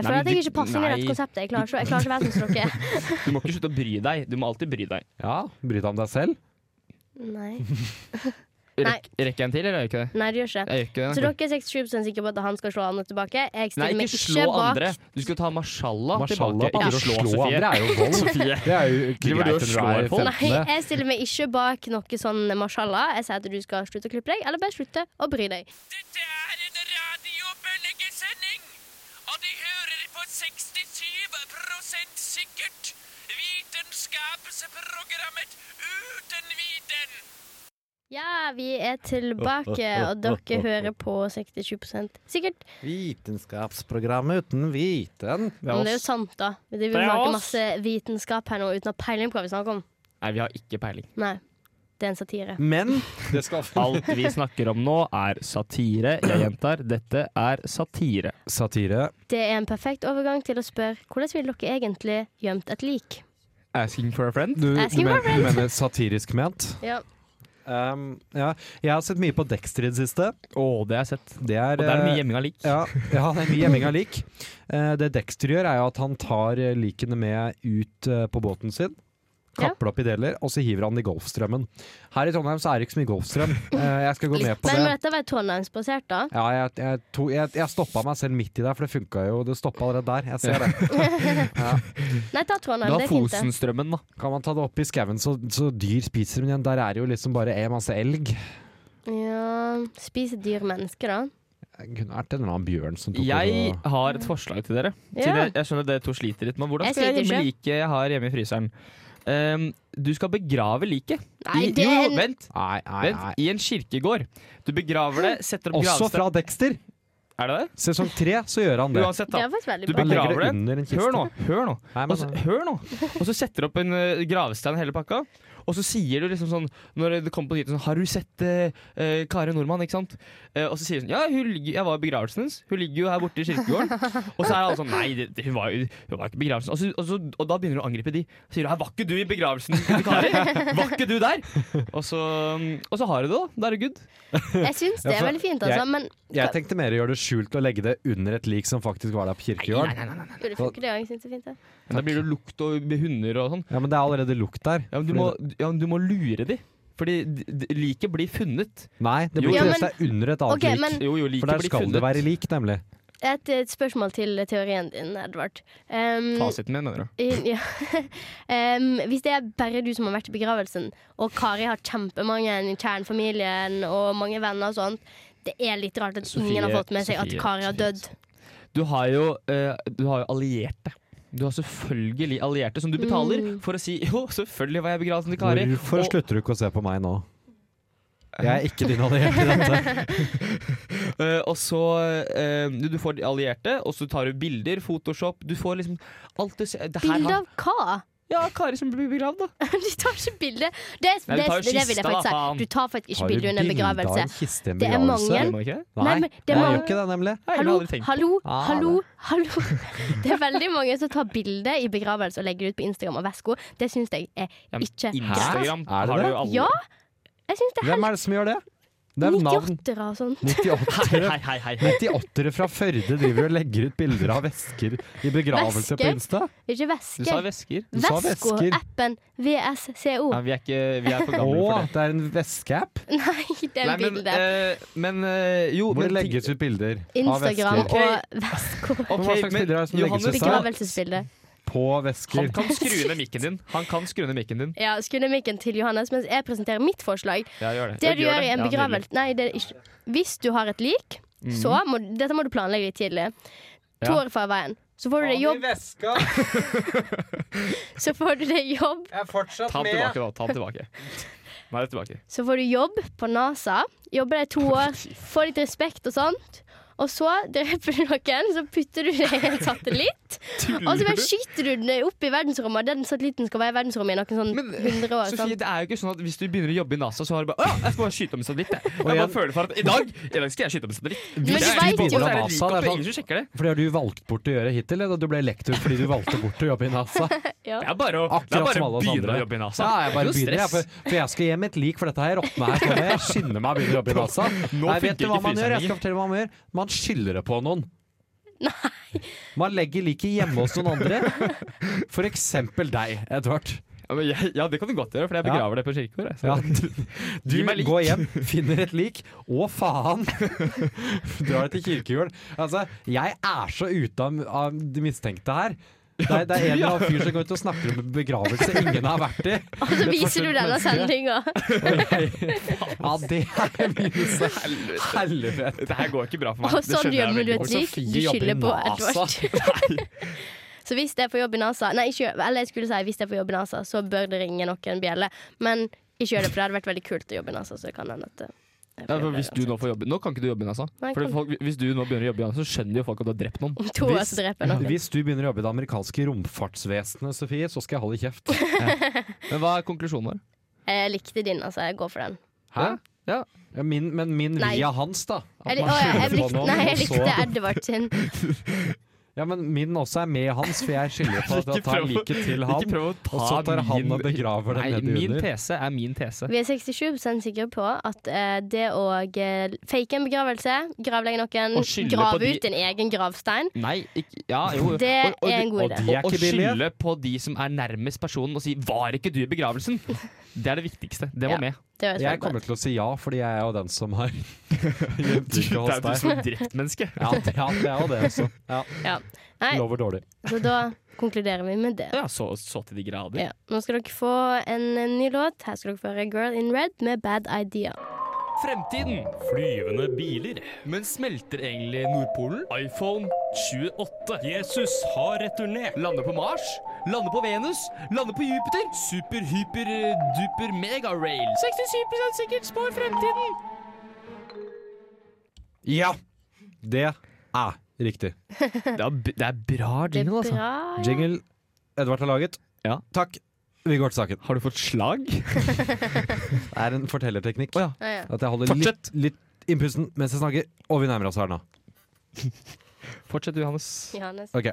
S2: Nei,
S3: føler
S2: men
S3: at jeg
S2: du-
S3: ikke passer inn i
S2: nei.
S3: dette konseptet. Jeg klarer ikke, jeg klarer ikke å være sånn som dere.
S2: Du må ikke slutte å bry deg. Du må alltid bry deg.
S4: Ja, Bry deg om deg selv.
S3: Nei. Nei.
S2: Rekk, rekker jeg en til, eller gjør jeg ikke det?
S3: nei, det gjør ikke det.
S2: Jeg gjør ikke det.
S3: Så dere er 67 sikre på at han skal slå andre tilbake? Jeg
S2: Nei,
S3: stiller meg
S2: ikke slå
S3: ikke bak.
S2: andre. Du skal ta mashallah
S4: Mashallah
S2: tilbake.
S4: på
S2: Ikke
S4: andre å
S2: slå
S4: slå
S2: Sofie.
S4: andre er jo vold.
S2: Sofie.
S4: Det er jo ikke
S2: Driver du og
S4: greit når du
S2: slår
S4: er
S2: folk?
S3: Nei,
S4: 15.
S3: jeg stiller meg ikke bak noe sånn mashallah. Jeg sier at du skal slutte å klippe deg, eller bare slutte å bry deg.
S7: Dette er en radiobølgesending, og de hører på 67 sikkert. Vitenskapsprogrammet uten viten.
S3: Ja, vi er tilbake, og dere hører på 67 sikkert.
S4: Vitenskapsprogrammet uten viten.
S3: Men det er jo sant, da. Vi driver og snakker masse vitenskap her nå uten å ha peiling på hva vi snakker om.
S2: Nei, vi har ikke peiling.
S3: Nei. Det er en satire.
S4: Men det skal
S2: Alt vi snakker om nå, er satire. Jeg gjentar, dette er satire.
S4: Satire.
S3: Det er en perfekt overgang til å spørre hvordan vil dere egentlig gjemt et lik?
S2: Asking for a friend?
S4: Du, du,
S3: Asking for
S4: men, du mener satirisk ment?
S3: Ja.
S4: Um, ja. Jeg har sett mye på Dexter i det siste.
S2: Å, det har jeg sett.
S4: Det er,
S2: Og det er
S4: eh,
S2: mye gjemming av lik.
S4: Ja, ja det er mye gjemming av lik. Eh, det Dexter gjør, er jo at han tar eh, likene med ut eh, på båten sin.
S3: Ja.
S4: Kapper opp i deler, og så hiver han det i Golfstrømmen. Her i Trondheim så er det ikke så mye Golfstrøm. Eh, jeg skal gå med på
S3: Men må
S4: det.
S3: dette være trondheimsbasert, da?
S4: Ja, jeg, jeg, to, jeg, jeg stoppa meg selv midt i der, for det funka jo. Det stoppa allerede der. Jeg ser det.
S3: Nei, ta
S2: Du
S3: Trondheim, det
S2: har
S3: er fint, det.
S2: Fosenstrømmen, da.
S4: Kan man ta det opp i skauen, så, så dyr spiser dem igjen. Der er det jo liksom bare en masse elg.
S3: Ja, Spise dyr mennesker, da.
S4: Det kunne vært en eller annen bjørn som tok
S2: Jeg
S4: over.
S2: har et forslag til dere.
S3: Ja.
S2: Siden jeg, jeg skjønner dere to sliter litt, men hvordan
S3: Jeg
S2: skal jeg
S3: sliter
S2: gjemme
S3: ikke.
S2: liket jeg har hjemme i fryseren? Um, du skal begrave liket.
S3: Nei,
S2: I-
S3: det
S2: Jo,
S3: er
S2: jo, vent!
S4: Nei, nei,
S2: Vent,
S4: nei.
S2: I en kirkegård. Du begraver det, setter opp
S4: Også
S2: gravstein
S4: fra Dexter!
S2: Er det det?
S4: Sesong tre så gjør han det.
S2: Uansett,
S3: Det
S2: da.
S3: er faktisk veldig
S2: Du
S3: bra.
S4: Han legger
S2: begraver
S4: det
S2: det.
S4: under en kiste.
S2: Hør nå, hør nå.
S4: Nei, men- altså,
S2: Og så, hør nå. Og så setter du opp en eh, gravstein hele pakka, og så sier du liksom sånn Når det kommer på nyhetene sånn Har du sett eh, eh, Kari Nordmann, ikke sant? Eh, og så sier du sånn Ja, hun ligger, jeg var i begravelsen hennes. Hun ligger jo her borte i kirkegården. og så er alle sånn Nei, det, det, hun, var, jo- hun var ikke i begravelsen. Og, så, og, så, og da begynner du å angripe de. Så sier du Her var ikke du i begravelsen til Kari? Var ikke du der? Og så, mm, og så har du det, da. Da er det good.
S3: Jeg syns det
S4: Ja,
S3: er
S4: for
S3: veldig fint,
S4: jeg-
S3: altså. Men
S4: Jeg tenkte mer å gjøre det skjult og legge det under et lik som faktisk var der på kirkegården.
S3: jo, det funker, det òg. Jeg syns det er fint. Det.
S2: Da blir det lukt og hunder og sånn.
S4: Ja, men det er allerede lukt der.
S2: Ja, men du
S4: Fordi
S2: må,
S4: det-
S2: ja, men du må lure de. Fordi d- d- liket blir funnet.
S4: Nei, det
S2: Jo,
S4: blir
S2: ja,
S4: ikke det hvis
S3: men-
S4: det er under et annet
S3: Ok,
S4: lik.
S3: men-
S2: Jo, jo,
S4: For
S2: liket
S4: der
S2: blir
S4: skal
S2: funnet.
S4: det være lik, nemlig.
S3: Et, et spørsmål til teorien din, Edvard. Um,
S2: Fasiten min, mener du.
S3: i- ja. um, hvis det er bare du som har vært i begravelsen, og Kari har kjempemange i kjernefamilien og mange venner og sånt, det er litt rart at
S2: Sofie,
S3: ingen har fått med seg at
S2: Sofie,
S3: Kari har
S2: Sofie.
S3: dødd.
S2: Du har jo, eh, du har jo allierte. Du har selvfølgelig allierte som du betaler
S3: Mm.
S2: for å si jo, selvfølgelig var jeg i begravelsen til Kari.
S4: Hvorfor
S2: og-
S4: slutter du ikke å se på meg nå? Jeg er ikke din allierte i dette.
S2: Eh, og så eh, du, du får de allierte, og så tar du bilder, Photoshop Du får liksom alt du ser det her
S3: Bilde
S2: har-
S3: av hva?
S2: Ja, Kari som blir begravd, da.
S3: Du tar ikke bilde. Det,
S2: Nei,
S3: det,
S2: du
S3: det,
S2: tar jo
S3: det vil
S2: kista,
S3: jeg faktisk
S2: da,
S3: si.
S2: faen.
S3: Du tar faktisk ikke
S4: Har du
S3: bilde under en
S4: bilde av en
S3: begravelse.
S4: kiste i en
S3: Det er
S4: begravelse?
S3: mange.
S2: Gjør man ikke det?
S4: Nei,
S3: Nei, men det er
S4: jeg gjør
S3: mange-
S4: ikke det, nemlig.
S2: Nei, jeg har
S3: Hallo,
S2: aldri tenkt på
S3: hallo,
S4: Ah,
S3: hallo, hallo. Det er veldig mange som tar bilde i begravelse og legger det ut på Instagram og Vesko. Det syns jeg er
S2: Ja, men
S3: ikke greit.
S4: Er
S2: Instagram
S4: det
S2: har du
S4: det?
S2: jo alle.
S3: Ja, jeg syns det er
S4: Hvem er det som gjør det? Det er
S3: helt
S4: navn.
S3: 98-ere og sånn.
S4: 98-ere
S2: Hei, hei, hei. hei.
S4: 98 fra Førde driver og legger ut bilder av vesker i begravelse på
S3: Vesker?
S4: Insta.
S3: Ikke
S2: Du sa
S3: vesker.
S2: vesker.
S4: Du sa
S3: Vesko,
S4: vesker.
S3: appen VSCO.
S2: Ja, vi er ikke vi er for
S4: Å,
S2: gamle for det.
S4: det er en veskeapp
S3: Nei, det er
S2: Nei, men,
S3: bilde.
S2: eh, men eh, jo
S4: hvor det
S2: men ting-
S4: legges ut bilder av
S3: Instagram
S4: vesker.
S2: Ok.
S3: og Vesko.
S2: Ok,
S4: Hva slags
S2: men
S4: bilder er det som legges ut da?
S2: Johannes,
S4: Begrav-
S3: Begravelsesbilde.
S4: På vesker.
S2: Han kan skru ned mikken din. Han kan skru ned mikken din.
S3: Ja, skulle mikken til Johannes mens jeg presenterer mitt forslag.
S2: Ja, gjør det.
S3: Det
S2: Ja,
S3: du
S2: gjør
S3: gjør i en
S2: det. Ja, nydelig.
S3: begravelse Nei, det er ikke Hvis du har et lik, så må Dette må du planlegge litt tidlig. To
S2: Ja.
S3: år fra veien. Så får du deg jobb,
S4: veska!
S3: så får du deg jobb,
S4: Jeg er fortsatt
S2: Ta den tilbake, da. Ta den tilbake. Nei, det er tilbake.
S3: så får du jobb på NASA. Jobber deg i to år, får litt respekt og sånt. Og så dreper du noen, så putter du deg i en satellitt. Og så bare skyter du den opp i verdensrommet. og Den satellitten skal være i verdensrommet i noen sånn
S2: Men,
S3: 100 år.
S2: Sofie,
S3: Sant?
S2: det er jo ikke sånn at hvis du begynner å jobbe i NASA, så har du bare Å, jeg skal bare skyte om en satellitt, jeg. Jeg bare
S4: igjen-
S2: føler for at i dag, i dag skal jeg skyte om en satellitt.
S3: du
S2: Det er
S3: vet jo-
S2: litt bolle,
S4: NASA,
S2: så er det
S4: det
S2: like
S4: er
S2: opp,
S4: sånn-
S2: Ingen som sjekker det.
S4: For det har du valgt bort å gjøre hittil. Eller? Du ble lektor fordi du valgte bort å jobbe i NASA.
S3: Ja.
S2: Det er bare å, det er
S4: Akkurat
S2: bare
S4: som
S2: å
S4: alle oss
S2: begynne
S4: andre.
S2: å jobbe i NASA.
S4: Ja, jeg bare
S2: Det er
S4: begynner,
S2: jo
S4: jeg, for, for jeg skal hjem med et lik for dette her råtne her. kommer Jeg skynder meg å begynne å jobbe i NASA. Nei,
S2: funker
S4: vet du hva man
S2: ikke
S4: gjør? Jeg
S2: fryseren
S4: skal fortelle hva man gjør. Man skylder det på noen. Man legger liket hjemme hos noen andre. For eksempel deg, Edvard.
S2: Ja, men jeg- ja, det kan du godt gjøre, for jeg begraver det på kirkegård. jeg, så-
S4: Ja. Du
S2: Gi meg lik.
S4: går hjem, finner et lik. Å, faen! Drar det til kirkegården. Altså, jeg er så ute av, av de mistenkte her. Det er, det er en eller annen fyr som går ut og snakker om en begravelse ingen har vært i.
S3: Og så viser du denne sendinga.
S4: Og jeg, ja, det er minste helvete.
S2: Dette her går ikke bra for meg.
S3: Og sånn gjemmer du et
S4: godt.
S3: lik.
S4: Sofie
S3: Du
S4: jobber i
S3: skylder på
S4: NASA.
S3: Edvard. Så hvis det er på jobb i NASA Nei, ikke, gjør- eller jeg skulle si hvis det er på jobb i NASA, så bør det ringe noen bjeller. Men ikke gjør det, for det hadde vært veldig kult å jobbe i NASA. Så det kan hende at eh, jeg får
S2: Ja, for
S3: jobbe
S2: hvis
S3: der
S2: du
S3: uansett.
S2: Nå får jobbe Nå kan ikke du jobbe i NASA.
S3: Nei,
S2: Fordi
S3: kan-
S2: folk, hvis du nå begynner å jobbe i NASA, så skjønner jo folk at du har drept noen.
S3: Om to år så dreper jeg noen.
S4: Hvis du begynner å jobbe i det amerikanske romfartsvesenet, Sofie, så skal jeg holde kjeft.
S2: Men hva er konklusjonen vår?
S3: Jeg likte din, altså. Jeg går for den.
S4: Hæ?
S2: Ja.
S4: Ja, Min, men min
S3: Nei.
S4: via hans, da. At
S3: Jeg, li-
S4: man
S3: å, jeg,
S4: skylder
S3: jeg,
S4: på
S3: likte,
S4: noen,
S3: nei,
S4: og
S3: jeg
S4: så-
S3: likte Edvard sin.
S4: Ja, men min også er med hans, for jeg skylder på at jeg tar liket til
S2: Ikke
S4: han.
S2: prøv å ta
S4: Og så tar han
S2: min-
S4: og begraver det
S2: Nei,
S4: nedi
S2: min
S4: under.
S2: tese er min tese.
S3: Vi er 67 sikre på at eh, det å eh, fake en begravelse, gravlegge
S2: Og
S3: noen,
S2: skylde på
S3: grave
S2: de-
S3: ut en egen gravstein,
S2: Nei, ikke, ja, jo.
S3: det
S2: Og- og-
S3: er en god
S4: og
S3: idé.
S4: de er
S2: Og
S4: ikke billige.
S2: skylde på de som er nærmest personen og si 'var ikke du i begravelsen'? Det er det viktigste. Det var
S3: Ja.
S2: med.
S3: Det høres
S4: Jeg
S3: veldig bra
S4: kommer til å si ja, fordi jeg er jo den som har gjemt
S2: Du, det
S4: liket
S2: er
S4: hos
S2: jo du
S4: deg.
S2: som er drept menneske.
S4: Ja, det ja, det er jo det også. Ja,
S3: ut. Ja. Nei,
S4: lover dårlig.
S3: så da konkluderer vi med det.
S2: Ja, så, så til de grader.
S3: Ja. Nå skal dere få en, en ny låt. Her skal dere få høre Girl in Red med Bad Idea.
S2: Fremtiden.
S8: Flyvende biler.
S2: Men smelter egentlig Nordpolen? iPhone
S8: 28. Jesus har returnert.
S2: lander på Mars? Lander på Venus? Lander på Jupiter? Super, hyper, eh, duper, mega rail. 67 sikkert spår fremtiden.
S4: Ja! Det er riktig.
S2: Det er, b- det er bra
S3: Det er
S2: jingle, altså.
S3: bra.
S4: Jingle Edvard har laget.
S2: Ja.
S4: Takk. Vi går til saken.
S2: Har du fått slag?
S4: Det er en fortellerteknikk.
S2: Å ja.
S3: Ja, ja.
S4: At jeg holder litt,
S2: Fortsett.
S4: litt innpusten mens jeg snakker, og vi nærmer oss her nå.
S2: Fortsett, Johannes.
S3: Johannes.
S4: Ok.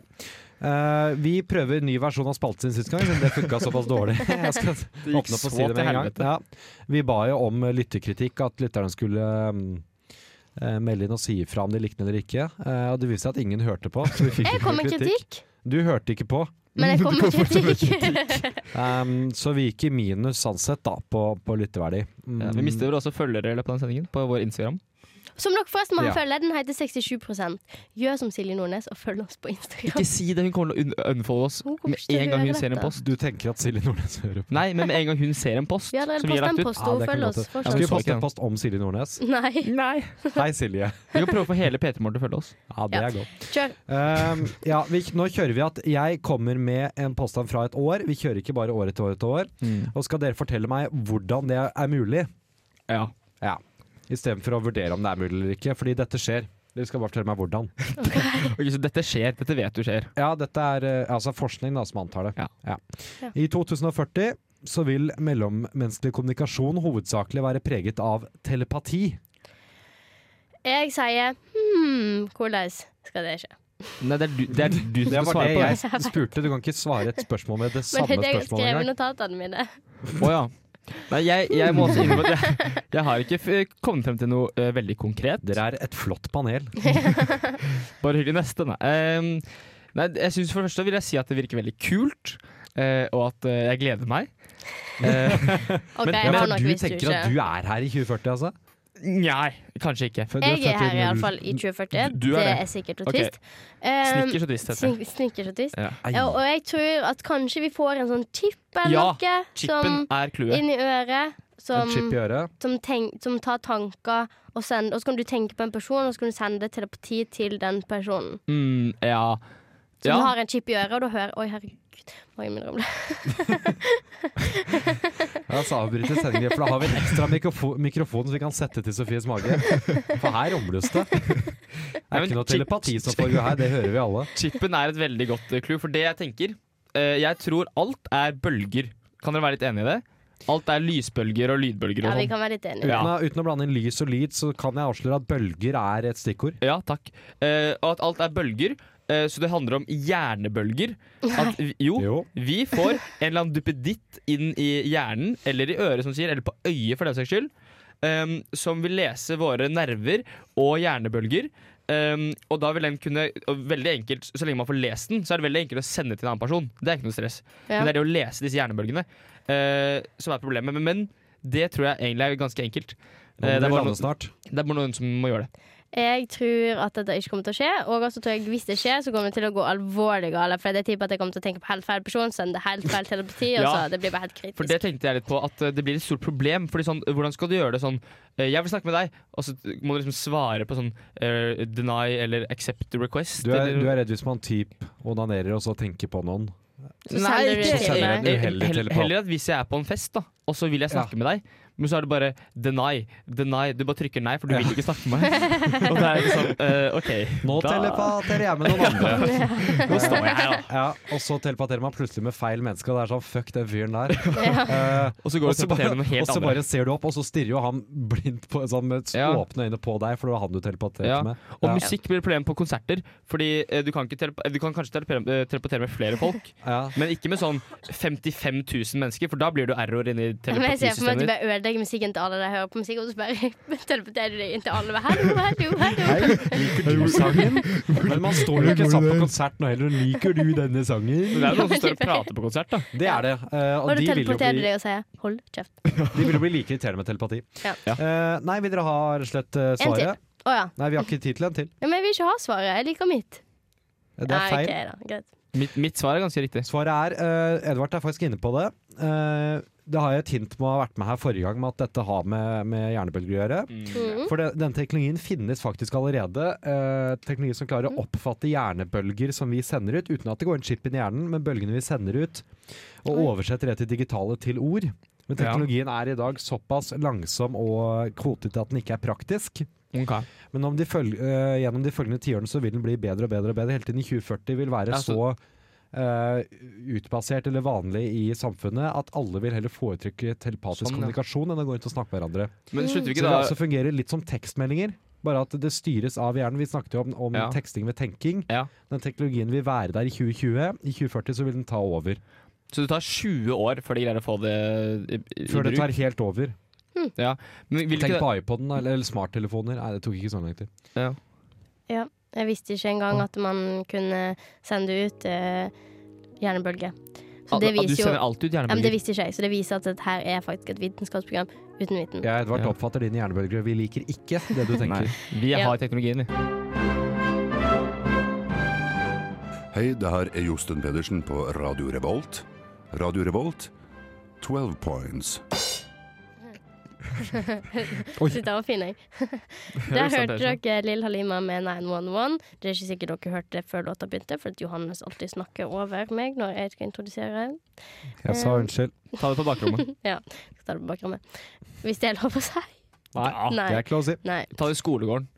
S4: Eh, vi prøver ny versjon av spalten sin sist gang, men det funka såpass dårlig. Jeg skal åpne
S2: gikk
S4: opp og
S2: så
S4: si det med
S2: til
S4: en gang.
S2: helvete.
S4: Ja. Vi ba jo om lytterkritikk, at lytterne skulle mm, eh, melde inn og si ifra om de likte den eller ikke. Eh, og det viste seg at ingen hørte på. Så vi fikk
S3: Jeg
S4: ikke
S3: kom
S4: noe
S3: med kritikk,
S4: Du hørte ikke på.
S3: men jeg kom med kritikk.
S4: Ehm, så vi gikk i minus sånn sett, da, på, på lytteverdi. Mm,
S2: Ja, vi mister vel også følgere i løpet av den sendingen på vår Instagram.
S3: Som dere forresten må
S4: Ja.
S3: ha følge, den heter 67 Gjør som Silje Nordnes og følg oss på Instagram.
S2: Ikke si det, hun kommer til å un- unfollow oss
S3: Hun kommer
S2: med
S3: ikke til å
S2: en gang
S3: gjøre
S2: hun ser en
S3: dette.
S2: post.
S4: Du tenker at Silje Nordnes hører på?
S2: Nei, men med en gang hun ser en post
S3: Vi har allerede
S2: som vi har
S3: postet en
S2: lagt ut.
S4: det kan
S3: post, og hun følger
S4: godt
S3: oss.
S4: hende.
S3: fortsatt.
S4: Skal vi
S2: så ikke
S4: poste
S2: den.
S4: en post om Silje Nordnes?
S3: Nei,
S2: Nei.
S4: Hei, Silje.
S2: Vi kan prøve å få hele PT-morgen til å følge oss.
S4: Ja, det
S3: Ja.
S4: er godt.
S3: kjør.
S4: Ehm, ja, vi, nå kjører vi at jeg kommer med en påstand fra et år. Vi kjører ikke bare år etter år etter år.
S2: Mm.
S4: Og skal dere fortelle meg hvordan det er mulig,
S2: Ja.
S4: istedenfor å vurdere om det er mulig eller ikke. Fordi dette skjer. Dere skal bare fortelle meg hvordan.
S2: Ok, så dette skjer. Dette vet du skjer.
S4: Ja, dette er eh, altså forskning da, som antar det.
S3: Ja.
S2: Ja.
S4: I 2040 så vil mellommenneskelig kommunikasjon hovedsakelig være preget av telepati.
S3: Jeg sier hmm, hvordan skal det skje?
S2: Nei, det er du, det er du som
S4: Det var
S2: skal
S4: det
S2: svare på det.
S4: jeg spurte. Du kan ikke svare et spørsmål med det
S3: Men
S4: samme
S3: det er det jeg
S4: spørsmålet
S3: skrev i
S4: engang.
S3: notatene mine.
S2: Å ja. Nei, jeg, jeg må også innrømme at jeg, jeg har ikke f kommet frem til noe eh, veldig konkret.
S4: Dere er et flott panel.
S2: Bare hyggelig neste, nei. Ehm, nei jeg synes for det første vil jeg si at det virker veldig kult, eh, og at eh, jeg gleder meg. Eh,
S4: Ja,
S3: OK, jeg har
S4: men
S3: nok
S4: du
S3: visst
S4: tenker at
S3: ikke.
S4: du er her i 2040, altså?
S2: nei, kanskje ikke.
S4: For du
S3: Jeg er
S4: født
S3: her
S4: null-
S3: iallfall i 2040.
S2: Du- du er
S3: det
S2: det.
S3: er sikkert og
S2: Ok.
S3: trist. Um,
S2: Snikker så trist heter det.
S3: snik- Snikker så trist.
S2: Ja.
S4: Ai.
S3: Ja, og jeg tror at kanskje vi får en sånn chip eller
S2: Ja,
S3: noe
S2: Chipen
S3: som
S2: er clouet.
S3: inn i øret.
S4: En
S3: Som,
S4: chip i øret.
S3: som, tenk, som tar tanker og sender Og så kan du tenke på en person, og så kan du sende telepati til den personen.
S2: Mm, ja.
S3: Som
S2: Ja.
S3: har en chip i øret, og du hører Oi, herregud. Må jeg minne om det?
S4: Ja, så avbryter sendingen, for da har vi en ekstra mikrofon, mikrofon som vi kan sette til Sofies mage. For her rumles det. Det
S2: Nei,
S4: er
S2: men
S4: ikke noe
S2: chip-
S4: telepati som foregår her, det hører vi alle.
S2: Chipen er et veldig godt eh, clue, for det jeg tenker eh, Jeg tror alt er bølger. Kan dere være litt enig i det? Alt er lysbølger og lydbølger
S3: Ja,
S2: og
S3: vi
S2: sånn.
S3: kan være litt enige.
S4: Uten,
S2: Ja.
S4: å, uten å blande inn lys og lyd, så kan jeg avsløre at bølger er et stikkord.
S2: Ja, takk. Eh, og at alt er bølger, eh, så det handler om hjernebølger. At, vi- jo,
S4: Jo.
S2: vi får en eller annen duppeditt inn i hjernen, eller i øret, som sier, eller på øyet for den saks skyld, ehm, som vil lese våre nerver og hjernebølger. Ehm, og da vil den kunne og veldig enkelt, Så lenge man får lest den, så er det veldig enkelt å sende til en annen person. Det er ikke noe stress.
S3: Ja.
S2: Men det er det å lese disse hjernebølgene eh, som er problemet. Men, men det tror jeg egentlig er ganske enkelt.
S4: Nå må
S2: Eh, det, er
S4: vi
S2: bare
S4: lande
S2: noen,
S4: snart.
S2: det er bare noen som må gjøre det.
S3: Jeg tror at dette ikke kommer til å skje. Og også tror jeg hvis det skjer, så kommer det til å gå alvorlig galt. For jeg tipper at jeg kommer til å tenke på helt feil person, sende helt feil telepati, og
S2: Ja.
S3: så det blir bare helt kritisk.
S2: For det tenkte jeg litt på, at eh, det blir et stort problem. Fordi sånn, Hvordan skal du gjøre det sånn eh, Jeg vil snakke med deg, og så må du liksom svare på sånn eh, deny eller accept the request.
S4: Du er,
S2: eller-
S4: du er redd hvis man typ onanerer og så tenker på noen.
S3: Så
S2: Nei,
S3: sender du
S2: ikke
S3: det til meg.
S2: heller.
S4: Så sender jeg en uheldig
S2: Heller,
S4: telepat.
S2: heller at hvis jeg er på en fest, da, og så vil jeg snakke med deg, men så er det bare deny. deny Du bare trykker nei, for du vil ikke snakke med meg. og det er liksom eh, OK.
S4: Nå
S2: da-
S4: telepaterer jeg med noen andre.
S2: Nå står jeg her, da.
S4: Ja, og så telepaterer man plutselig med feil menneske, og det er sånn fuck den fyren der. Eh,
S2: Og så
S4: Og
S2: går du
S4: så
S2: og
S4: bare,
S2: bare, noe helt
S4: og så
S2: andre.
S4: bare ser du opp, og så stirrer jo han blindt på, sånn, med
S2: Ja.
S4: åpne øyne på deg, for det var han du telepaterte
S2: Ja.
S4: med.
S2: Og
S4: Ja.
S2: musikk blir et problem på konserter, Fordi eh, du kan, ikke telep eh, du kan kanskje telepe- eh, teleportere med flere folk.
S4: Ja.
S2: Men ikke med sånn 55 000 mennesker, for da blir du error inni
S3: Men jeg ser for meg at du
S2: telepatisystemet. ditt.
S3: bare ødelegger musikken til alle de hører på musikk, og så bare teleporterer du deg inn til alle. Bare, Hallo, hallo, hallo.
S4: Liker du sangen? Men man står jo ikke sammen på konsert nå heller. Liker du denne
S2: Men
S4: sangen?
S2: Det er jo noen som står og prater på konsert, da.
S4: Det er det. eh,
S3: Og
S4: og
S3: du
S4: de vil, jo
S3: teleporterer
S4: bli,
S3: deg og sier 'hold kjeft'.
S4: de vil jo bli like irriterende med telepati.
S3: Ja.
S4: Eh, nei, vil dere ha rett og slett eh,
S3: En til.
S4: svaret?
S3: Å ja.
S4: Nei, vi har ikke tid til en til.
S3: ja. Men jeg vil ikke ha svaret. Jeg liker mitt.
S4: Det er
S3: Nei,
S4: feil.
S3: ok da, greit.
S2: Mitt, mitt svar er ganske riktig.
S4: Svaret er eh, Edvard er faktisk inne på det. Eh, det har jeg et hint med å ha vært med her forrige gang, med at dette har med, med hjernebølger å gjøre.
S2: Mm.
S3: Mhm.
S4: For det, den teknologien finnes faktisk allerede. Eh, teknologi som klarer å oppfatte hjernebølger som vi sender ut, uten at det går en chip inn i hjernen, men bølgene vi sender ut, og
S3: Oi.
S4: oversetter det til digitale til ord. Men teknologien er i dag såpass langsom og kvotete at den ikke er praktisk.
S2: Ok.
S4: Men om de følg, eh, gjennom de følgende tiårene så vil den bli bedre og bedre. og bedre Helt inn i 2040 vil være
S2: Ja, så-
S4: så eh, utbasert eller vanlig i samfunnet at alle vil heller foretrekke telepatisk
S2: Sånn, ja.
S4: kommunikasjon enn å gå ut og snakke med hverandre.
S3: Mm.
S2: Men slutter
S4: Så
S2: vi ikke
S4: det
S2: da
S4: vil altså fungere litt som tekstmeldinger, bare at det styres av hjernen. Vi snakket jo om, om
S2: Ja.
S4: teksting ved tenking.
S2: Ja.
S4: Den teknologien vil være der i 2020. I 2040 så vil den ta over.
S2: Så det tar 20 år før de greier å få det i, i, i
S4: Før det
S2: bruk?
S4: tar helt over.
S2: Men vil
S4: Tenk
S2: ikke
S4: på iPoden eller, eller smarttelefoner. Nei, det tok ikke så lang tid.
S2: det- ja.
S3: Jeg visste ikke engang at man kunne sende ut eh, hjernebølge. Så
S2: At-
S3: det
S2: at du
S3: viser jo
S2: sender alt ut
S3: ja, men Det
S2: hjernebølger?
S3: visste ikke jeg, så det viser at dette her er faktisk et vitenskapsprogram uten viten.
S4: Jeg Edvard,
S2: Ja.
S4: oppfatter dine hjernebølger. Vi liker ikke det du
S2: Nei,
S4: tenker.
S2: vi
S3: Ja.
S2: har teknologien, vi.
S9: Hei, det her er Josten Pedersen på Radio Revolt. Radio Revolt, 12 points.
S4: Oi.
S3: Sitter her og finner jeg.
S2: Ja,
S3: Der
S2: sant,
S3: hørte
S2: det
S3: dere Lill Halima med 911. Det er ikke sikkert dere hørte det før låta begynte, for at Johannes alltid snakker over meg når jeg skal introdusere.
S4: Jeg sa unnskyld.
S2: Ta det på bakrommet.
S3: Jeg skal ta det på bakrommet. Hvis det er lov å si.
S4: Nei,
S3: Nei.
S4: det er ikke lov å si.
S3: Nei.
S2: Ta det i skolegården.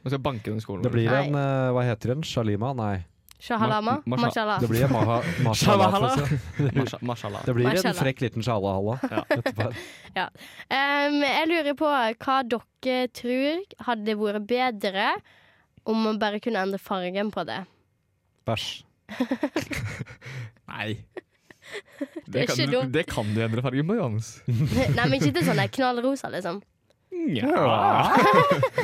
S2: Man skal banke den i skolegården.
S4: Det blir
S3: Nei.
S4: en eh, Hva heter den? Shalima? Nei.
S3: Shahalama.
S2: Ma- ma-
S3: Mashallah.
S4: Det blir en maha,
S2: Shabahala?
S4: mashallah-fest.
S2: Masha, mashallah.
S4: Det blir en
S3: Mashallah.
S4: frekk liten shalahala. etterpå.
S3: Ehm, jeg lurer på hva dere tror hadde vært bedre om man bare kunne endre fargen på det.
S4: Bæsj.
S2: Nei.
S3: Det er
S2: kan,
S3: ikke
S2: du-
S3: dumt.
S2: det kan du endre fargen på, Johannes.
S3: Nei, men ikke til sånn der knallrosa, liksom.
S2: Nja.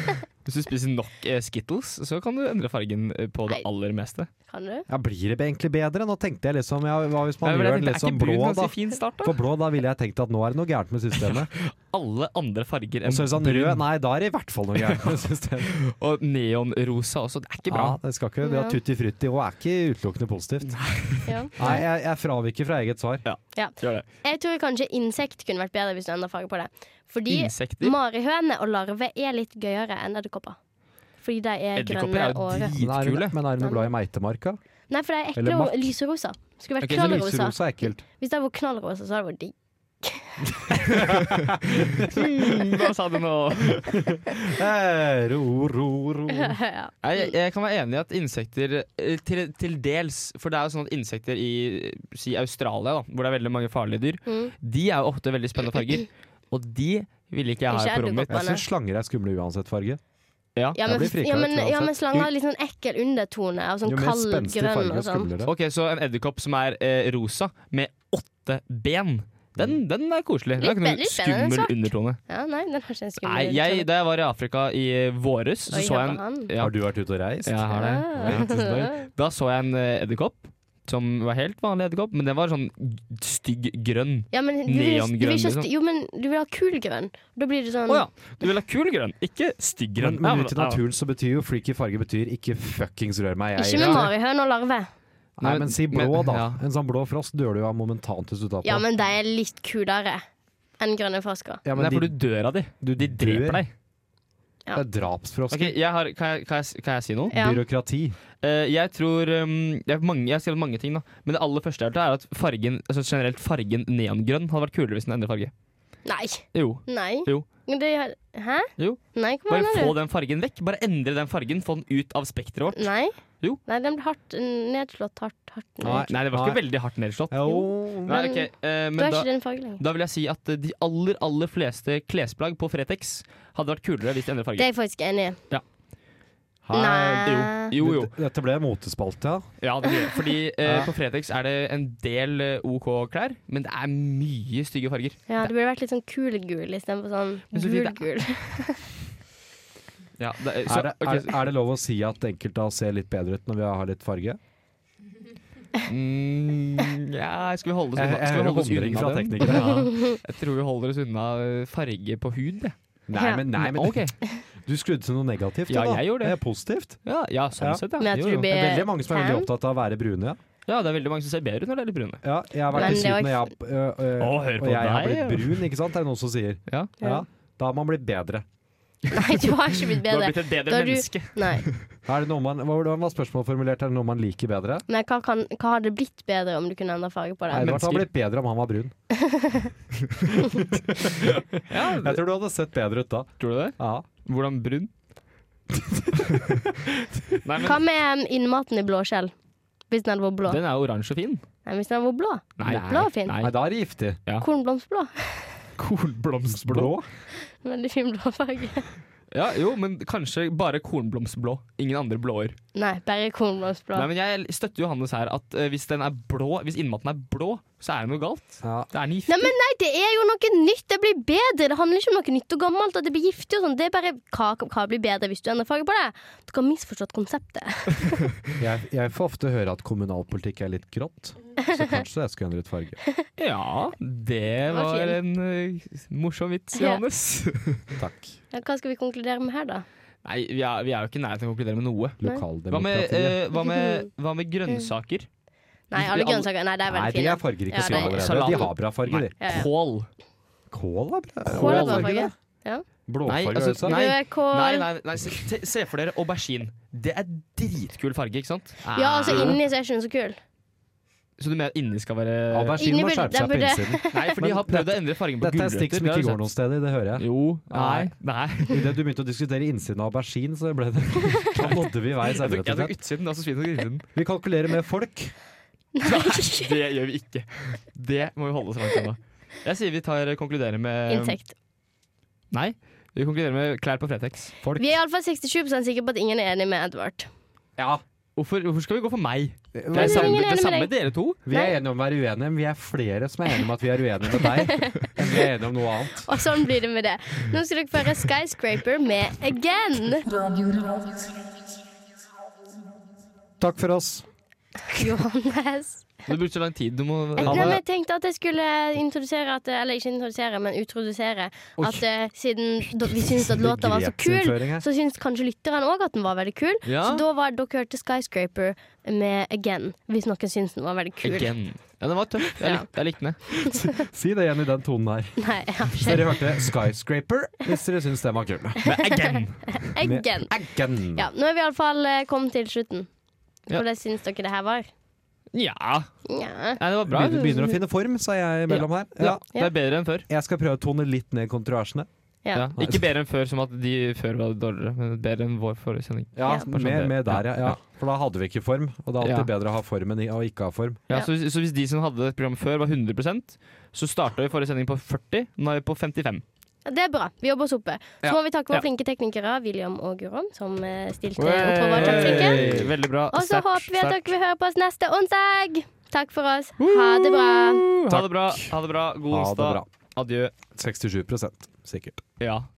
S2: Hvis du spiser nok eh, Skittles, så kan du endre fargen eh, på det
S3: Nei.
S2: aller meste.
S3: Kan du?
S4: Ja, blir det egentlig bedre? Nå tenkte jeg liksom ja, Hva hvis man
S2: Nei, men jeg
S4: gjør den
S2: tenkte,
S4: litt sånn
S2: er ikke brun
S4: blå, da?
S2: ganske fin start, da?
S4: For blå, da ville jeg tenkt at nå er det noe gærent med systemet.
S2: Alle andre farger
S4: Og
S2: enn
S4: så er det sånn
S2: brun.
S4: rød, nei, da er det i hvert fall noe gærent med systemet.
S2: Og neonrosa også. Det er ikke bra.
S4: Ja, det skal ikke, det er
S3: Ja.
S4: tutti frutti og er ikke utelukkende positivt.
S3: Ja.
S4: Nei, jeg, jeg fraviker fra eget svar.
S2: Gjør det.
S3: Jeg tror kanskje insekt kunne vært bedre hvis du endra farge på det. Fordi
S2: Insekter.
S3: marihøne og larve er litt gøyere enn edderkopper. Fordi de er
S2: Edderkopper
S3: grønne
S2: er jo
S3: og
S4: Men
S3: røde.
S4: er,
S2: dritkule.
S4: men er hun glad i meitemarka?
S3: Nei, for de er
S4: Eller
S3: ekle og
S4: makk.
S3: lyserosa. Skulle vært
S2: Ok, så
S3: knallrosa.
S4: Lyserosa er ekkelt.
S3: Hvis det hadde vært knallrosa, så hadde det vært digg.
S2: Hva sa du nå?
S4: Eh, ro, ro, ro.
S3: ja.
S2: Nei, Jeg, jeg kan være enig i at insekter eh, til, til dels For det er jo sånn at insekter i eh, si Australia, da, hvor det er veldig mange farlige dyr,
S3: Mm.
S2: de er jo ofte veldig spennende farger. Og de ville ikke jeg
S3: Ikke
S2: ha på rommet mitt.
S4: Jeg syns slanger er skumle uansett farge.
S2: Ja.
S3: Ja,
S4: Jeg
S3: men,
S4: blir frika
S3: ja,
S4: ut
S3: men, ja,
S4: uansett.
S3: men slanger har litt sånn ekkel undertone av sånn
S4: Jo mer
S3: kald
S4: spenstig
S3: grønn
S4: farge,
S3: og
S4: jo
S3: sånn.
S4: skumlere.
S2: Ok, Så en edderkopp som er eh, rosa, med åtte ben. Den, den er koselig. Det er
S3: Litt
S2: ikke
S3: bedre-
S2: noen
S3: litt bedre enn
S2: skummel
S3: svart.
S2: undertone.
S3: Ja, nei, den har ikke en skummel
S2: Nei, jeg,
S3: undertone.
S2: Da jeg var i Afrika i eh, våres, så
S3: Oi,
S2: så
S3: hør
S2: jeg
S3: på
S2: en
S3: han.
S2: ja,
S4: Har du vært ute og reist?
S2: Jeg har det. Ja, tusen takk. Da så jeg en eh, edderkopp som var helt vanlig edderkopp, men den var sånn g- stygg grønn.
S3: Ja, men du vil, du vil
S2: Neongrønn,
S3: ikke, ha st-
S2: liksom.
S3: Jo, men du vil ha kul grønn. Da blir det sånn
S2: Å ja! Du vil ha kul grønn, ikke stygg grønn.
S4: Men, men
S2: Ja,
S4: ute i naturen så betyr jo freaky farge betyr ikke fuckings rør meg, jeg.
S3: Ikke med marihøne og larve.
S4: Nei, men si blå,
S2: Men-
S4: da.
S2: ja.
S4: En sånn blå frost dør du jo av momentant hvis du tar på.
S3: Ja, men de er litt kulere enn grønne frosker.
S4: Ja,
S2: Men
S4: men
S2: det er
S4: de,
S2: fordi du dør av de.
S4: du
S2: De
S4: dør.
S2: dreper deg.
S4: Det er drapsfrosker.
S2: Ok, jeg har, kan, jeg, kan, jeg, kan jeg si noe?
S3: Ja.
S4: Byråkrati.
S2: Eh, jeg tror um, jeg, har mange, jeg har skrevet mange ting, da. Men det aller første jeg hørte, er at fargen altså generelt fargen neongrønn hadde vært kulere hvis den endret farge.
S3: Nei.
S2: Jo.
S3: Nei.
S2: Jo.
S3: Men Det, er- hæ?
S2: Jo.
S3: Nei, hva
S2: Bare få
S3: mener du?
S2: den fargen vekk. Bare endre den fargen. Få den ut av spekteret vårt.
S3: Nei.
S2: Jo.
S3: Nei, den ble hardt nedslått. Hardt, hardt
S4: Nei.
S3: ned.
S2: Nei, det var ikke veldig hardt nedslått.
S4: Jo.
S2: Nei,
S3: Men-
S2: ok, eh,
S3: Du
S2: men
S3: er
S2: da,
S3: ikke den fargen lenger.
S2: Da vil jeg si at eh, de aller, aller fleste klesplagg på Fretex hadde vært kulere hvis de endret
S3: Det er
S2: farge.
S3: jeg faktisk enig i.
S4: Hei.
S3: Nei.
S2: Jo, jo.
S4: D- Dette ble motespalte, ja.
S2: Ja, det blir det. Fordi eh,
S4: Ja.
S2: på Fretex er det en del eh, OK klær, men det er mye stygge farger.
S3: Ja, det burde vært litt sånn kulegul istedenfor sånn
S2: Men Sofie, det er-
S3: gulgul.
S2: Ja, det, er- så,
S4: Er det,
S2: ok,
S4: er,
S2: så-
S4: er det lov å si at enkelte av oss ser litt bedre ut når vi har litt farge?
S2: mm, ja, skal vi holde oss
S4: Jeg,
S2: unna,
S4: jeg
S2: skal vi
S4: hører
S2: holde oss
S4: humring fra
S2: unna den?
S4: teknikere.
S2: Jeg tror vi holder oss unna eh, farge på hud. jeg.
S4: Nei, men, nei, men
S2: Ok.
S4: du skrudde til noe negativt.
S2: Ja,
S4: da.
S2: jeg gjorde det. Eh,
S4: er positivt.
S2: Ja, ja, sånn
S4: Ja.
S2: sett, ja.
S3: Men jeg
S2: Jo,
S3: tror
S2: jo.
S3: det blir-
S4: Det er veldig mange som er veldig
S3: Tan?
S4: opptatt av å være brune, ja.
S2: ja, det er veldig mange som ser bedre ut når det er litt brune.
S4: Ja, jeg har vært
S3: Men
S4: i
S3: det var
S4: Syden, og
S3: ikke-
S4: jeg, øh, øh,
S2: Å, hør på
S4: og jeg har
S2: deg,
S4: blitt brun, ikke sant? Det er det noen som sier.
S2: Ja.
S4: Ja, da har man blitt bedre.
S3: Nei, du har ikke blitt
S2: Du har
S3: bedre.
S2: blitt et bedre
S3: Da du-
S2: menneske.
S3: Nei.
S4: Er det noe man, hva var det- hva var spørsmålet formulert? Er det noe man liker bedre?
S3: Nei, hva, kan, hva hadde blitt bedre om du kunne endra farge på
S4: Nei,
S3: det?
S4: det hadde
S2: mennesker.
S4: blitt bedre om han var brun. Jeg tror du hadde sett bedre ut da.
S2: Tror du det?
S4: Ja.
S2: Hvordan brun? Nei, men
S3: Hva med um, innmaten i blå skjell? Hvis den hadde vært blå.
S2: den er oransje og fin.
S3: Nei, hvis den hadde vært blå.
S2: Nei.
S3: Blå er fin.
S4: Nei, da er det giftig.
S3: Kornblomstblå.
S2: Kornblomstblå.
S4: Blå?
S3: Veldig fin blå farge.
S2: Ja, jo, men kanskje bare kornblomstblå. Ingen andre blåer.
S3: Nei, bare kornblomstblå.
S2: Nei, men Jeg støtter Johannes her at eh, hvis, den er blå, hvis innmaten er blå, så er det noe galt.
S4: Ja.
S2: Det er den
S3: Nei,
S2: giftig.
S3: men nei, det er jo noe nytt. Det blir bedre. Det handler ikke om noe nytt og gammelt. At det blir giftig og sånn. Det er bare hva, hva blir bedre hvis du endrer farge på det. Dere har misforstått konseptet.
S4: Jeg, jeg får ofte høre at kommunalpolitikk er litt grått, så kanskje jeg skulle endret farge.
S2: Ja, det
S3: var
S2: var
S3: fin.
S2: en eh, morsom vits,
S3: Ja.
S2: Johannes.
S4: Takk.
S3: Ja, hva skal vi konkludere med her, da?
S2: Nei, vi er, vi er jo ikke i nærheten av å konkludere med noe. Hva med,
S4: Lokaldemokratiet.
S2: eh, hva med, hva med grønnsaker?
S3: Nei,
S2: Hvis vi
S3: alle
S2: alle-
S3: grønnsaker. Nei, det er
S4: Nei,
S3: veldig
S4: de
S3: fine.
S4: er fargerike
S3: Ja,
S4: som
S3: det-
S4: allerede.
S2: Salat.
S4: De har bra farger, de.
S3: Ja, ja.
S2: Kål.
S4: Kål er bra.
S3: Kål er bra
S4: Blåfarge,
S3: farge.
S4: det. Blåfarge,
S2: Nei, altså,
S4: altså,
S2: nei.
S3: Rød kål.
S2: Nei, nei, nei se, te- se for dere aubergine. Det er dritkul farge, ikke sant? Ah.
S3: Ja, altså inni så er ikke den så kul.
S2: Så du mener at inni skal være
S4: Aubergine må
S3: Inni burde-
S4: skjerpe seg på
S3: den burde-
S4: innsiden.
S2: Nei, for de
S4: Men
S2: har prøvd å
S4: dette-
S2: endre fargen på
S4: Dette er stikk som
S2: det
S4: ikke
S2: har du
S4: går
S2: sett.
S4: noen steder, det hører jeg.
S2: Jo. Nei.
S4: Nei.
S2: nei.
S4: Idet du begynte å diskutere innsiden av aubergine, så ble det Da nådde vi veis
S2: Jeg
S4: ende.
S2: tok,
S4: rett og
S2: jeg tok
S4: slett.
S2: utsiden, altså svin og grisesiden.
S4: Vi kalkulerer med folk.
S3: Nei.
S2: Det gjør vi ikke. Det må vi holde oss langt unna. Jeg sier vi tar eh, konkluderer med um,
S3: Inntekt.
S2: Nei. Vi konkluderer med klær på Fretex.
S4: folk.
S3: Vi er iallfall 67 sikre på at ingen er enig med Edvard.
S4: Ja.
S2: Hvorfor, hvorfor skal vi gå for meg? Det
S3: Men
S2: er samme,
S3: ingen
S2: det
S3: er enig
S2: er
S3: med
S2: samme dere to.
S4: Vi er enige om å være uenige, men vi er flere som er enige om at vi er uenige med deg, enn vi er enige om noe annet.
S3: Og sånn blir det med det. Nå skal dere få høre Skyscraper med Again.
S4: Takk for oss.
S3: Johannes.
S2: Du brukte så lang tid. Du må
S3: Jeg,
S4: Ha
S3: nei,
S4: det.
S3: men jeg tenkte at jeg skulle introdusere at, Eller ikke introdusere, men utrodusere
S4: Oi.
S3: At eh, siden da, vi syntes at låta var så kul
S4: Begrepsinnføring her.
S3: Så syntes kanskje lytteren også at den var veldig kul
S2: Ja.
S3: Så da var dere hørte Skyscraper med Again Hvis noen syntes den var veldig kul
S2: Again. Ja, den var tøff. Jeg,
S3: Ja.
S2: likte- jeg likte den.
S4: Si det igjen i den tonen her.
S3: Nei, jeg har
S4: Så dere hørte 'Skyscraper' hvis dere syns den var kul.
S2: Men again!
S3: ikke Again
S4: Again.
S3: ja, Nå er vi i alle fall eh, kommet til slutten
S2: Ja.
S3: Hvordan syns dere det her var?
S2: Ja.
S3: Ja.
S2: Nei, det var bra.
S4: Begynner, begynner å finne form, sa jeg imellom her.
S2: Ja,
S4: Ja.
S2: det er bedre enn før.
S4: Jeg skal prøve å tone litt ned kontroversene.
S3: Ja.
S2: Ja. Ikke bedre enn før, som at de før var dårligere, men bedre enn vår forrige sending.
S4: Ja,
S3: Ja.
S4: Mer, mer der, ja. ja. For da hadde vi ikke form, og det er alltid bedre å ha form enn i- å ikke ha form.
S2: Ja,
S3: Ja.
S2: så, hvis, så hvis de som hadde et program før, var 100 så starta vi forrige sending på 40, nå er vi på 55.
S3: Det er bra, vi jobber oss oppe Så
S2: Ja.
S3: må vi takke våre
S2: Ja.
S3: flinke teknikere William og Gurom Som eh, stilte og var kjempeflinke
S2: Veldig bra.
S3: Og så
S2: Sterkt,
S3: håper vi at
S2: sterkt.
S3: dere vil høre på oss neste onsdag. Takk for oss. Ha det bra.
S2: Ha det bra. Ha det bra. God
S4: Ha det
S2: onsdag.
S4: bra.
S2: Adjø.
S4: 67 sikkert.
S2: Ja.